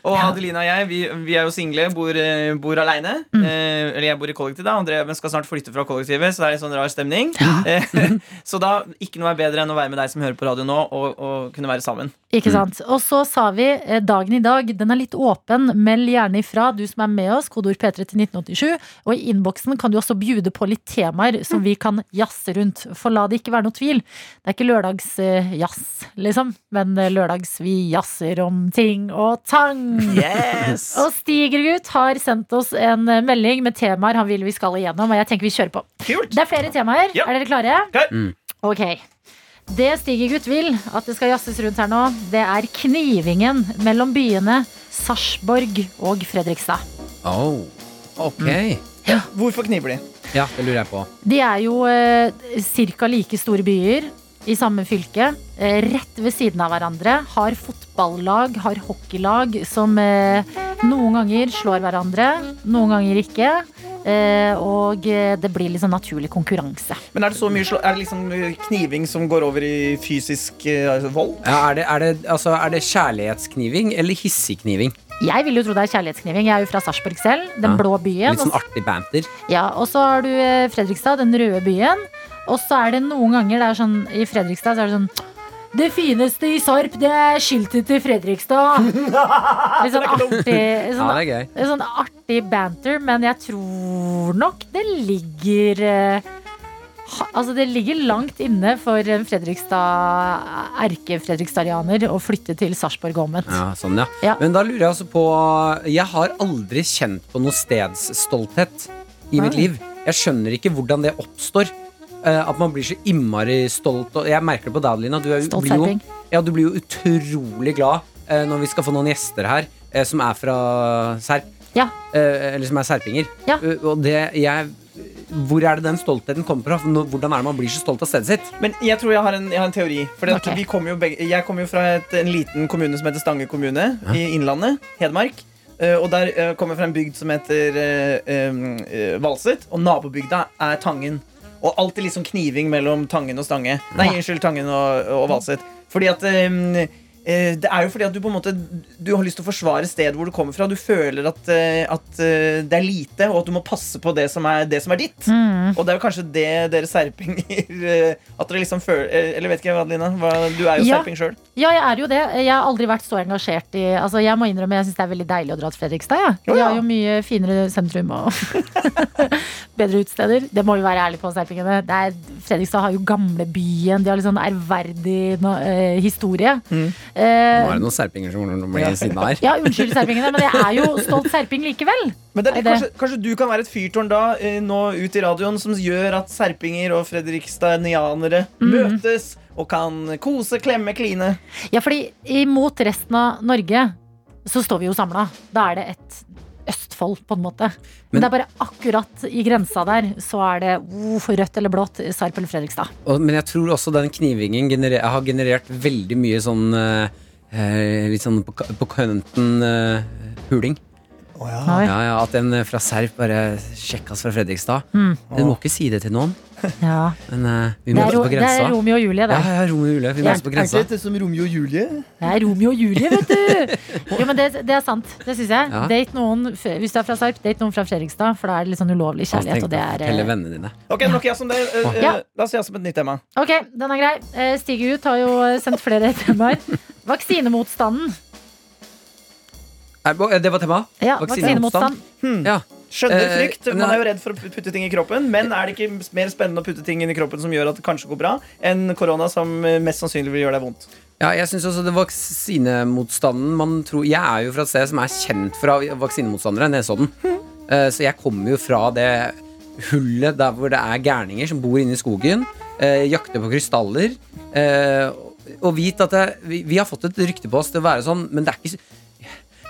Speaker 3: Og Adelina og jeg, vi, vi er jo single, bor, eh, bor aleine. Eh, eller jeg bor i kollektiv, da. André men skal snart flytte fra kollektivet, så det er litt sånn rar stemning. Eh, så da, ikke noe er bedre enn å være med deg som hører på radio nå, og, og kunne være sammen.
Speaker 2: Ikke sant? Og så sa vi eh, dagen i dag, den er litt åpen. Meld gjerne ifra, du som er med oss. Kodeord P3 til 1987. Og i innboksen kan du også bjude på litt temaer
Speaker 3: Mm.
Speaker 2: som vi kan jazze rundt. For la det ikke være noe tvil. Det er ikke lørdagsjazz, liksom. Men eh, lørdags vi jazzer om ting og tang.
Speaker 3: Yes!
Speaker 2: Og Stigergut har sendt oss en eh, melding med temaer han vil vi skal igjennom. Og jeg tenker vi kjører på.
Speaker 3: Kult!
Speaker 2: Det er flere temaer.
Speaker 3: Ja.
Speaker 2: Er dere klare?
Speaker 3: Klar.
Speaker 2: Ok. Det Stigergutt vil at det skal jazzes rundt her nå, det er knivingen mellom byene Sarpsborg og Fredrikstad.
Speaker 4: Oh, ok.
Speaker 3: Hvorfor kniver de?
Speaker 4: Ja, det lurer jeg på.
Speaker 2: De er jo eh, ca. like store byer i samme fylke. Eh, rett ved siden av hverandre. Har fotballag, har hockeylag som eh, noen ganger slår hverandre, noen ganger ikke. Eh, og eh, det blir litt sånn naturlig konkurranse.
Speaker 3: Men er det så mye slå Er det liksom eh, kniving som går over i fysisk eh, altså, vold?
Speaker 4: Ja, er, det, er, det, altså, er det kjærlighetskniving eller hissigkniving?
Speaker 2: Jeg vil jo tro det er kjærlighetskniving. Jeg er jo fra Sarpsborg selv. Den
Speaker 4: Ja.
Speaker 2: blå byen.
Speaker 4: Litt sånn artig banter.
Speaker 2: Ja, og så har du eh, Fredrikstad, den røde byen. Og så er det noen ganger det er sånn, i Fredrikstad så er det sånn det fineste i Sarp, det er skiltet til Fredrikstad. Litt sånn artig,
Speaker 4: Ja,
Speaker 2: sånn,
Speaker 4: det er gøy.
Speaker 2: litt sånn artig banter, men jeg tror nok det ligger eh, ha, Altså, det ligger langt inne for en Fredrikstad, erke-fredrikstadianer å flytte til Sarpsborg og omvendt.
Speaker 4: Ja, sånn, ja.
Speaker 2: Ja.
Speaker 4: Men da lurer jeg altså på Jeg har aldri kjent på noe stedsstolthet i mitt liv. Jeg skjønner ikke hvordan det oppstår. eh, at man blir så innmari stolt. Og jeg merker det på deg, Adelina. Du, er, jo-
Speaker 2: Stolt
Speaker 4: blir jo,
Speaker 2: serping.
Speaker 4: ja, du blir jo utrolig glad eh, når vi skal få noen gjester her eh, som er fra Serp.
Speaker 2: Ja.
Speaker 4: Eh, eller som er serpinger.
Speaker 2: Ja.
Speaker 4: Eh, og det jeg Hvor er det den stoltheten kommer fra? Nå- Hvordan er det man blir så stolt av stedet sitt?
Speaker 3: Men jeg tror jeg har en, jeg har en teori. For det at
Speaker 2: Ok.
Speaker 3: vi kommer jo begge, jeg kommer jo fra et, en liten kommune som heter Stange kommune i Innlandet. Hedmark. Eh, og der eh, kommer jeg fra en bygd som heter eh, eh, Valset. Og nabobygda er Tangen. Og alltid liksom kniving mellom Tangen og Stange. Nei, unnskyld, Tangen og, og Valset. Fordi at eh, eh, det er jo fordi at du på en måte Du har lyst til å forsvare stedet hvor du kommer fra. Du føler at, eh, at eh, det er lite, og at du må passe på det som er, det som er ditt. Og det er jo kanskje det dere serpinger eh, At dere liksom føler eh, Eller vet ikke, Adelina. hva- Du er jo
Speaker 2: Ja.
Speaker 3: serping sjøl.
Speaker 2: Ja, jeg er jo det. Jeg har aldri vært så engasjert i Altså, Jeg må innrømme, jeg syns det er veldig deilig å dra til Fredrikstad. Ja.
Speaker 3: Jo,
Speaker 2: Vi
Speaker 3: ja.
Speaker 2: har jo mye finere sentrum og bedre utesteder. Det må vi være ærlige på, serpingene. Det er, Fredrikstad har jo gamlebyen. De har litt sånn ærverdig no, eh, historie.
Speaker 4: Nå
Speaker 2: Eh,
Speaker 4: er det noen serpinger som blir siden av her.
Speaker 2: ja, unnskyld serpingene, men jeg er jo stolt serping likevel.
Speaker 3: Men det er,
Speaker 2: Er det-
Speaker 3: litt- Kanskje, kanskje du kan være et fyrtårn da eh, nå ut i radioen som gjør at serpinger og fredrikstanianere
Speaker 2: Mhm.
Speaker 3: møtes og kan kose, klemme, kline.
Speaker 2: Ja, fordi imot resten av Norge så står vi jo samla. Da er det et Østfold, på en måte. Men,
Speaker 4: Men-
Speaker 2: det er bare akkurat i grensa der, så er det uh, rødt eller blått, Sarp eller Fredrikstad.
Speaker 4: Og, men jeg tror også den knivingen gener- har generert veldig mye sånn eh, eh, Litt sånn på, ka- på kanten eh, huling.
Speaker 2: Oi.
Speaker 4: Ja, ja, At en eh, fra Serp bare sjekkas fra Fredrikstad.
Speaker 2: Mm.
Speaker 4: Du må ikke si det til noen,
Speaker 2: Ja.
Speaker 4: men eh, vi
Speaker 2: Det,
Speaker 4: møtes
Speaker 2: er, Ro-
Speaker 4: på
Speaker 2: det er
Speaker 4: grensa.
Speaker 2: Romeo og Julie,
Speaker 4: Ja,
Speaker 2: det.
Speaker 4: ja, Romeo og Julie. Vi møtes på
Speaker 8: Er ikke
Speaker 4: grensa.
Speaker 8: dette som Romeo og Julie?
Speaker 2: Det er Romeo og Julie, vet du! Jo, men det, det er sant. Det syns jeg.
Speaker 4: Ja.
Speaker 2: Date noen, f- hvis du er fra Sarp, date noen fra Fredrikstad, for da er det litt sånn ulovlig kjærlighet. Og det er,
Speaker 4: Fortelle
Speaker 2: eh,
Speaker 4: vennene dine.
Speaker 3: Ok, nok jazz om det. Eh, eh,
Speaker 2: Ja.
Speaker 3: La oss jazze om et nytt tema.
Speaker 2: Ok, den er grei. Eh, Stig Ut har jo eh, sendt flere temaer. Vaksinemotstanden.
Speaker 4: Nei, bo- eh, Det var temaet?
Speaker 2: Ja,
Speaker 4: Vaksinemotstand.
Speaker 2: vaksinemotstand.
Speaker 4: Hmm. Ja.
Speaker 3: Skjønner
Speaker 4: Eh,
Speaker 3: frykt. Man
Speaker 4: nei.
Speaker 3: er jo redd for å putte ting i kroppen. Men er det ikke mer spennende å putte ting inn i kroppen som gjør at det kanskje går bra, enn korona som eh, mest sannsynlig vil gjøre deg vondt?
Speaker 4: Ja, jeg synes også det vaksinemotstanden man tror, Jeg er jo fra et sted som er kjent fra vaksinemotstandere, Nesodden. Eh, Så jeg kommer jo fra det hullet der hvor det er gærninger som bor inne i skogen, eh, jakter på krystaller. eh, Og vit at det, vi, vi har fått et rykte på oss til å være sånn, men det er ikke, så-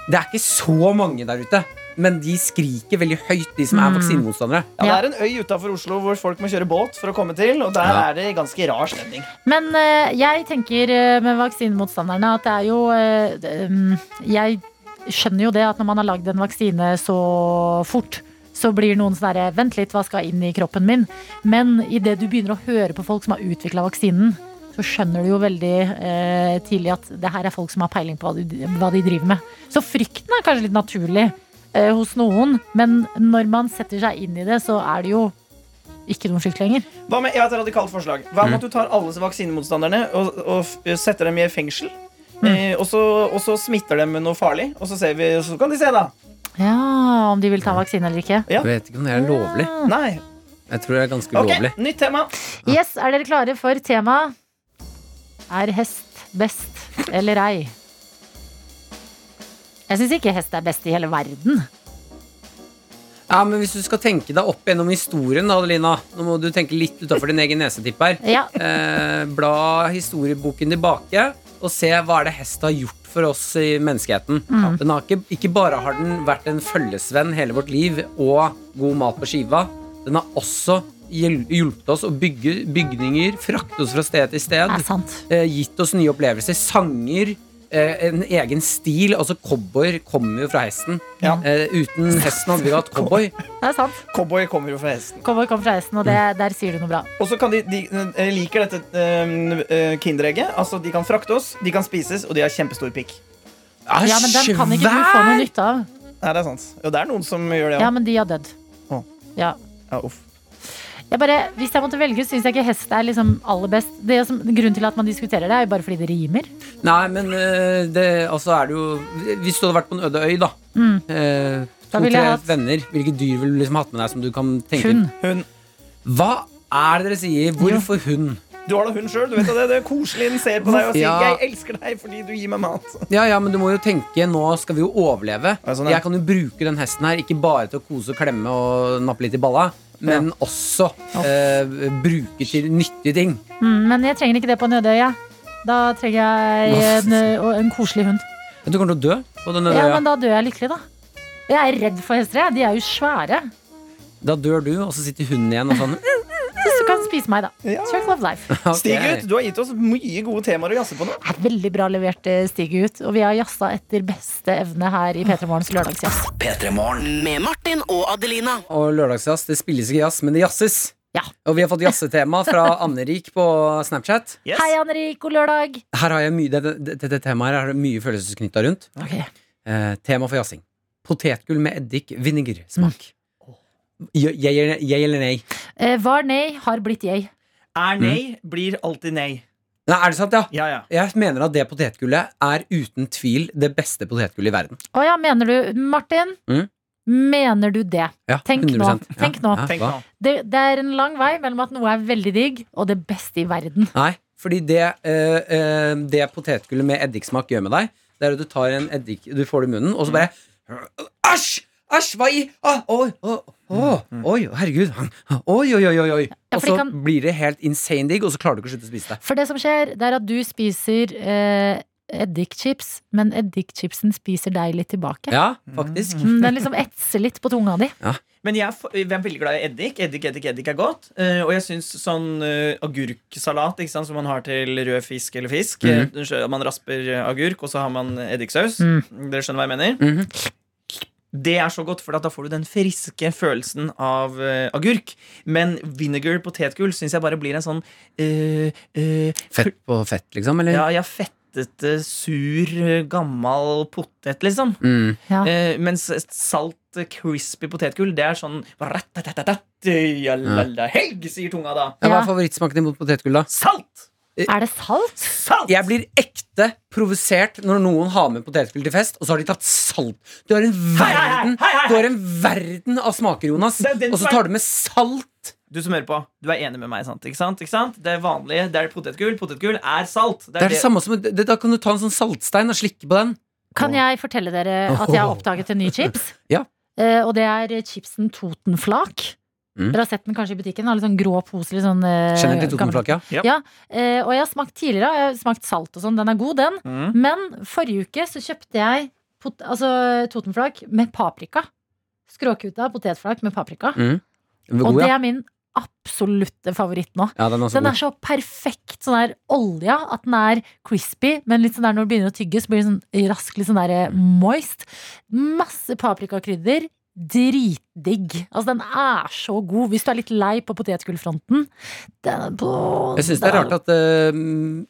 Speaker 4: det er ikke så mange der ute. Men de skriker veldig høyt, de som er vaksinemotstandere.
Speaker 3: Ja,
Speaker 2: Ja.
Speaker 3: Det er en øy utafor Oslo hvor folk må kjøre båt for å komme til, og der
Speaker 4: Ja.
Speaker 3: er det ganske rar stemning.
Speaker 2: Men eh, jeg tenker eh, med vaksinemotstanderne at det er jo eh, det, mm, Jeg skjønner jo det at når man har lagd en vaksine så fort, så blir noen sånn herre Vent litt, hva skal inn i kroppen min? Men idet du begynner å høre på folk som har utvikla vaksinen, så skjønner du jo veldig eh, tidlig at det her er folk som har peiling på hva, du, hva de driver med. Så frykten er kanskje litt naturlig eh, hos noen, men når man setter seg inn i det, så er det jo ikke noen frykt lenger.
Speaker 3: Hva med, jeg har et radikalt forslag. Hva
Speaker 4: Mm.
Speaker 3: med at du tar alle disse vaksinemotstanderne og, og f- setter dem i fengsel?
Speaker 2: Mm.
Speaker 3: Eh, og, så, og så smitter dem med noe farlig, og så, ser vi, så kan de se, da.
Speaker 2: Ja, om de vil ta vaksine eller ikke.
Speaker 4: Jeg vet ikke om det er lovlig.
Speaker 2: Mm.
Speaker 3: Nei.
Speaker 4: Jeg tror det er ganske
Speaker 3: Ok,
Speaker 4: ulovlig.
Speaker 3: nytt tema.
Speaker 2: Yes, Er dere klare for temaet? Er hest best eller ei? Jeg syns ikke hest er best i hele verden.
Speaker 4: Ja, men Hvis du skal tenke deg opp gjennom historien, da, Adelina Nå må du tenke litt utafor din egen nesetipp her.
Speaker 2: Ja,
Speaker 4: Eh, bla historieboken tilbake og se hva er det hest har gjort for oss i menneskeheten. Den har ikke, ikke bare har den vært en følgesvenn hele vårt liv og god mat på skiva, den har også hjel- hjulpet oss å bygge bygninger, frakte oss fra sted til sted,
Speaker 2: det er sant.
Speaker 4: eh, gitt oss nye opplevelser, sanger, eh, en egen stil. Altså, cowboy kommer jo fra hesten.
Speaker 3: Ja.
Speaker 4: Eh, uten hesten hadde vi ikke hatt cowboy.
Speaker 2: Det er sant.
Speaker 3: Cowboy kommer jo fra hesten.
Speaker 2: Cowboy kom fra hesten, og Mm. det, der sier du noe bra.
Speaker 3: Og så kan de, de eh, liker dette eh, eh, Kinderegget. Altså, de kan frakte oss, de kan spises, og de har kjempestor pikk.
Speaker 2: Ja, Men den kan ikke du få noe nytte av.
Speaker 3: Nei, det er sant. Jo, det er noen som gjør det.
Speaker 2: Ja,
Speaker 3: Ja.
Speaker 2: men de har dødd.
Speaker 3: Å.
Speaker 2: Ja.
Speaker 3: Ja, uff.
Speaker 2: Jeg bare, hvis jeg måtte velge, syns jeg ikke hest er liksom aller best. Det som, grunnen til at man diskuterer det, er jo bare fordi det rimer.
Speaker 4: Nei, men eh, det, altså er det jo Hvis du hadde vært på en øde øy, da.
Speaker 2: Mm.
Speaker 4: eh,
Speaker 2: Da
Speaker 4: to,
Speaker 2: ville
Speaker 4: tre
Speaker 2: jeg hatt-
Speaker 4: venner. Hvilke dyr ville du liksom hatt med deg som du kan tenke
Speaker 2: Hund.
Speaker 3: Hun.
Speaker 4: Hva er det dere sier? Hvorfor hund?
Speaker 3: Du har da hund sjøl, du vet da det. Det er koselig den ser på deg og sier
Speaker 4: Ja.
Speaker 3: 'jeg elsker deg fordi du gir meg mat'.
Speaker 4: Ja, ja, men du må jo tenke, nå skal vi jo overleve.
Speaker 3: Ja, sånn, ja.
Speaker 4: Jeg kan jo bruke den hesten her, ikke bare til å kose og klemme og nappe litt i balla, men også eh, bruke til nyttige ting.
Speaker 2: Mm, men jeg trenger ikke det på en øde øy. jeg. Da trenger jeg en, ø, en koselig hund.
Speaker 4: Men Du kommer til å dø på den øde
Speaker 2: Ja,
Speaker 4: øya.
Speaker 2: men da dør jeg lykkelig, da. Jeg er redd for hester. jeg. De er jo svære.
Speaker 4: Da dør du, og så sitter hunden igjen og sånn.
Speaker 2: Så du kan spise meg, da.
Speaker 3: Ja.
Speaker 2: Circle of life.
Speaker 4: ok.
Speaker 3: Stig ut, du har gitt oss mye gode temaer å jazze på nå.
Speaker 2: Det er veldig bra levert, eh, Stig Ut. Og vi har jazza etter beste evne her i P3 Morgens lørdagsjazz.
Speaker 7: Med Martin og Adelina.
Speaker 4: Og lørdagsjazz, det spilles ikke jazz, men det jazzes.
Speaker 2: Ja.
Speaker 4: Og vi har fått jazzetema fra Anne Rik på Snapchat.
Speaker 3: Yes.
Speaker 2: Hei, Anne-Rik, god lørdag!
Speaker 4: Her har jeg mye, dette, dette temaet her har jeg mye følelsesknytta rundt.
Speaker 2: Ok.
Speaker 4: Eh, tema for jazzing. Potetgull med eddik, vinegar, smak.
Speaker 2: Mm.
Speaker 4: Ja, Jeg, eller- jeg eller nei?
Speaker 2: Eh, var nei, har blitt jeg.
Speaker 3: Er
Speaker 4: Mm.
Speaker 3: nei, blir alltid nei.
Speaker 4: Nei, er det sant, ja?
Speaker 3: Ja, ja.
Speaker 4: Jeg mener at det potetgullet er uten tvil det beste potetgullet i verden.
Speaker 2: Å ja, mener du Martin?
Speaker 4: Mm.
Speaker 2: Mener du det?
Speaker 4: Ja,
Speaker 2: Tenk nå,
Speaker 4: 100%.
Speaker 2: tenk nå.
Speaker 4: Ja,
Speaker 3: Tenk
Speaker 4: hva?
Speaker 3: nå.
Speaker 2: det? Det er en lang vei mellom at noe er veldig digg, og det beste i verden.
Speaker 4: Nei, fordi det, eh, eh, det potetgullet med eddiksmak gjør med deg, det er at du tar en eddik Du får det i munnen, og så bare Æsj! Æsj, hva i ah, Oi, å, å, oi, herregud. Oi, oi, oi, oi. oi.
Speaker 2: Ja,
Speaker 4: Og
Speaker 2: for det
Speaker 4: så
Speaker 2: kan-
Speaker 4: blir det helt insane digg, og så klarer du ikke å slutte å spise det.
Speaker 2: For det som skjer, det er at du spiser eh, eddikchips, men eddikchipsen spiser deg litt tilbake.
Speaker 4: Ja, faktisk.
Speaker 2: Mm, Den liksom etser litt på tunga di.
Speaker 3: Men jeg er for- jeg er veldig glad i eddik. Eddik, eddik, eddik er godt. Eh, og jeg syns sånn eh, agurksalat ikke sant, som man har til rød fisk eller fisk
Speaker 4: Mm.
Speaker 3: eh, skjø- Man rasper eh, agurk, og så har man eddiksaus. Dere skjønner hva jeg mener?
Speaker 4: Mhm.
Speaker 3: Det er så godt, for da får du den friske følelsen av eh, agurk. Men vinegar potetgull syns jeg bare blir en sånn eh, eh,
Speaker 4: Fett på fett, liksom? Eller?
Speaker 3: Ja, jeg fettete, sur, eh, gammal potet, liksom.
Speaker 4: Mm.
Speaker 2: Ja.
Speaker 3: Eh, mens salt, eh, crispy potetgull, det er sånn ratatatatat, jalala, Helg, sier tunga da.
Speaker 4: Ja, Hva
Speaker 2: Ja.
Speaker 4: er favorittsmaken din mot potetgull, da?
Speaker 3: Salt!
Speaker 2: Er det salt?
Speaker 3: Salt!
Speaker 4: Jeg blir ekte provosert når noen har med potetgull til fest, og så har de tatt salt. Du har en verden
Speaker 3: hei, hei!
Speaker 4: Du har en verden av smaker, Jonas,
Speaker 3: Det er den
Speaker 4: og så
Speaker 3: som er-
Speaker 4: tar du med salt.
Speaker 3: Du som hører på, du er enig med meg, sant? Ikke sant? Ikke sant? Det er vanlige, det er potetgull. Potetgull er salt.
Speaker 4: Det er det samme som det, Da kan du ta en sånn saltstein og slikke på den.
Speaker 2: Kan jeg fortelle dere at jeg har oppdaget en ny chips?
Speaker 4: Ja.
Speaker 2: Eh, og det er chipsen Totenflak.
Speaker 4: Mm.
Speaker 2: Dere har sett den kanskje i butikken? Den har Litt sånn grå pose. Litt sånn, eh,
Speaker 4: Kjenner til
Speaker 2: gammel-
Speaker 4: Totenflak, ja.
Speaker 2: Eh, og jeg har smakt tidligere, jeg har smakt salt og sånn. Den er god, den.
Speaker 3: Mm.
Speaker 2: Men forrige uke så kjøpte jeg pot altså, Totenflak med paprika. Skråkuta potetflak med paprika.
Speaker 4: Mm, Den var
Speaker 2: og
Speaker 4: God,
Speaker 2: det
Speaker 4: ja.
Speaker 2: er min absolutte favoritt nå.
Speaker 4: ja den er også
Speaker 2: Den er
Speaker 4: god.
Speaker 2: så perfekt sånn der olja at den er crispy, men litt sånn der når du begynner å tygge, så blir den sånn raskt litt sånn der eh, moist. Masse paprikakrydder. Dritdigg. Altså, den er så god. Hvis du er litt lei på potetgullfronten den- på-
Speaker 4: Jeg syns det er rart at eh,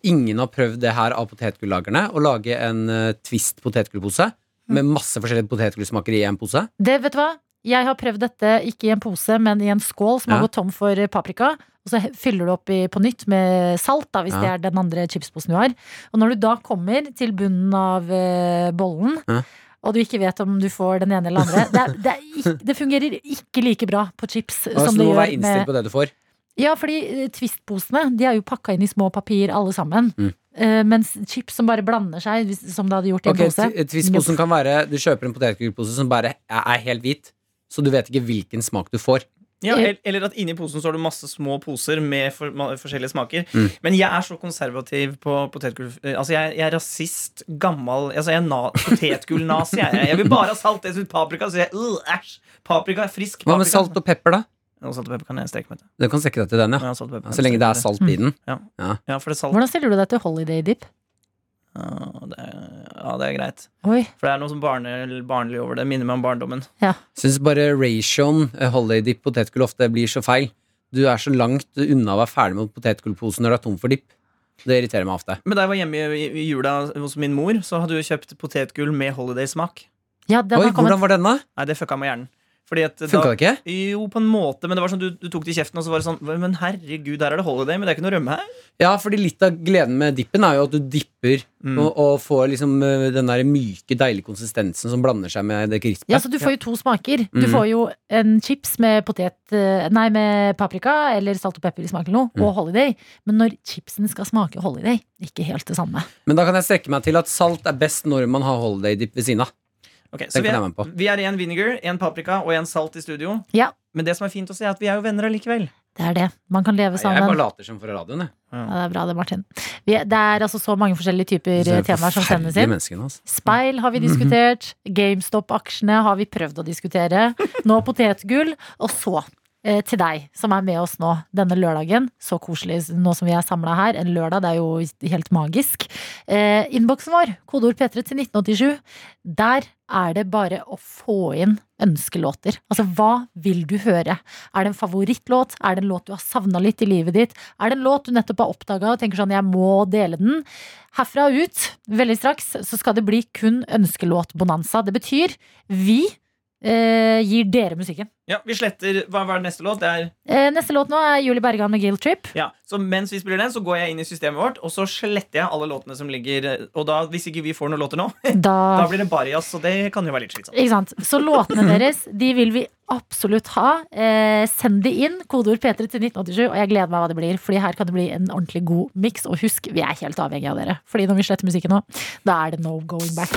Speaker 4: ingen har prøvd det her av potetgullagerne. Å lage en eh, Twist potetgullpose med masse forskjellige potetgullsmaker i en pose.
Speaker 2: Det, vet du hva? Jeg har prøvd dette ikke i en pose, men i en skål som
Speaker 4: Ja.
Speaker 2: har gått tom for eh, paprika. Og så he- fyller du opp i, på nytt med salt, da, hvis
Speaker 4: Ja.
Speaker 2: det er den andre chipsposen du har. Og når du da kommer til bunnen av eh, bollen,
Speaker 4: Ja.
Speaker 2: og du ikke vet om du får den ene eller den andre Det, er, det, er ikke, det fungerer ikke like bra på chips
Speaker 4: Så
Speaker 2: som det
Speaker 4: du må
Speaker 2: gjør
Speaker 4: være
Speaker 2: med
Speaker 4: innstilt på det du får.
Speaker 2: ja, fordi eh, Twist-posene de er jo pakka inn i små papir, alle sammen.
Speaker 4: Mm.
Speaker 2: Eh, mens chips som bare blander seg, hvis, som det hadde gjort i en
Speaker 4: Ok,
Speaker 2: pose
Speaker 4: t- Twist-posen kan være Du kjøper en potetgullpose som bare er- er helt hvit, så du vet ikke hvilken smak du får.
Speaker 3: Ja,
Speaker 4: Eh.
Speaker 3: el- eller at inni posen så har du masse små poser med for, ma- forskjellige smaker.
Speaker 4: Mm.
Speaker 3: Men jeg er så konservativ på potetgull eh, Altså, jeg, jeg er rasist, gammal altså Jeg er na- potetgull-nazi. Jeg, er. jeg vil bare ha salt. Jeg syns paprika så jeg, øh, æsj, Paprika er frisk.
Speaker 4: Hva med
Speaker 3: paprika.
Speaker 4: salt og pepper, da?
Speaker 3: Og salt og pepper kan jeg steke med. det.
Speaker 4: Du kan strekke deg til den, ja.
Speaker 3: Ja, salt og pepper kan
Speaker 4: Ja, Så lenge
Speaker 3: jeg
Speaker 4: det er
Speaker 3: steke
Speaker 4: salt i den.
Speaker 3: med. Ja, for det er salt.
Speaker 2: Hvordan stiller du deg til holiday dip?
Speaker 3: Ja, det er, ja, det er greit.
Speaker 2: Oi,
Speaker 3: For det er noe som barne, barnlig over det. Minner meg om barndommen.
Speaker 4: Syns bare ration, eh, holiday dip, potetgull ofte blir så feil. Du er så langt unna å være ferdig med potetgullposen når du er tom for dipp. Det irriterer meg ofte.
Speaker 3: Men da jeg var hjemme i, i jula hos min mor, så hadde hun kjøpt potetgull med holiday-smak.
Speaker 2: ja, den
Speaker 4: Oi,
Speaker 2: har kommet
Speaker 4: hvordan var denne?
Speaker 3: Nei, det fucka med hjernen. Fordi at da-
Speaker 4: Funka det ikke?
Speaker 3: Jo, på en måte, men det var sånn du, du tok det i kjeften, og så var det sånn Men herregud, her er det holiday, men det er ikke noe rømme her.
Speaker 4: Ja, fordi litt av gleden med dippen er jo at du dipper
Speaker 3: Mm.
Speaker 4: og, og får liksom eh, den der myke, deilige konsistensen som blander seg med det krispet.
Speaker 2: Ja, så du får jo to smaker. Du
Speaker 4: Mhm.
Speaker 2: får jo en chips med potet eh, Nei, med paprika eller salt og pepper i smak eller noe, og holiday. Men når chipsen skal smake holiday, ikke helt det samme.
Speaker 4: Men da kan jeg strekke meg til at salt er best når man har holiday dip ved siden av.
Speaker 3: Ok, så
Speaker 4: Den
Speaker 3: vi er,
Speaker 4: kan jeg være med på.
Speaker 3: vi er en vinegar, en paprika og en salt i studio.
Speaker 2: Ja.
Speaker 3: Men det som er fint å se, er at vi er jo venner allikevel.
Speaker 2: Det er det. Man kan leve
Speaker 4: Jeg bare
Speaker 2: sammen.
Speaker 4: later som fra radioen, jeg.
Speaker 2: Ja, det er bra det, Martin. Vi, det er altså så mange forskjellige typer eh, temaer som sendes inn.
Speaker 4: menneskene, altså.
Speaker 2: Speil har vi diskutert. GameStop-aksjene har vi prøvd å diskutere. Nå potetgull. Og så eh, til deg som er med oss nå denne lørdagen. Så koselig nå som vi er samla her. En lørdag, det er jo helt magisk. Eh, Innboksen vår, kodeord P3 til 1987. Der er det bare å få inn ønskelåter. Altså, hva vil du høre? Er det en favorittlåt? Er det en låt du har savna litt i livet ditt? Er det en låt du nettopp har oppdaga og tenker sånn, jeg må dele den? Herfra og ut, veldig straks, så skal det bli kun ønskelåtbonanza. Det betyr vi eh, gir dere musikken.
Speaker 3: Ja, Vi sletter Hva hva er neste låt? Det er
Speaker 2: Eh, neste låt nå er Julie Bergan med Guilt Trip.
Speaker 3: Ja, så mens vi spiller den, så går jeg inn i systemet vårt, og så sletter jeg alle låtene som ligger Og da, hvis ikke vi får noen låter nå, da
Speaker 2: Da,
Speaker 3: blir det bare jazz, og det kan jo være litt slitsomt.
Speaker 2: ikke sant? Så låtene deres de vil vi absolutt ha. Eh, send de inn. Kodeord P3 til 1987. Og jeg gleder meg hva det blir, Fordi her kan det bli en ordentlig god miks. Og husk, vi er helt avhengig av dere. Fordi når vi sletter musikken nå, da er det no going back.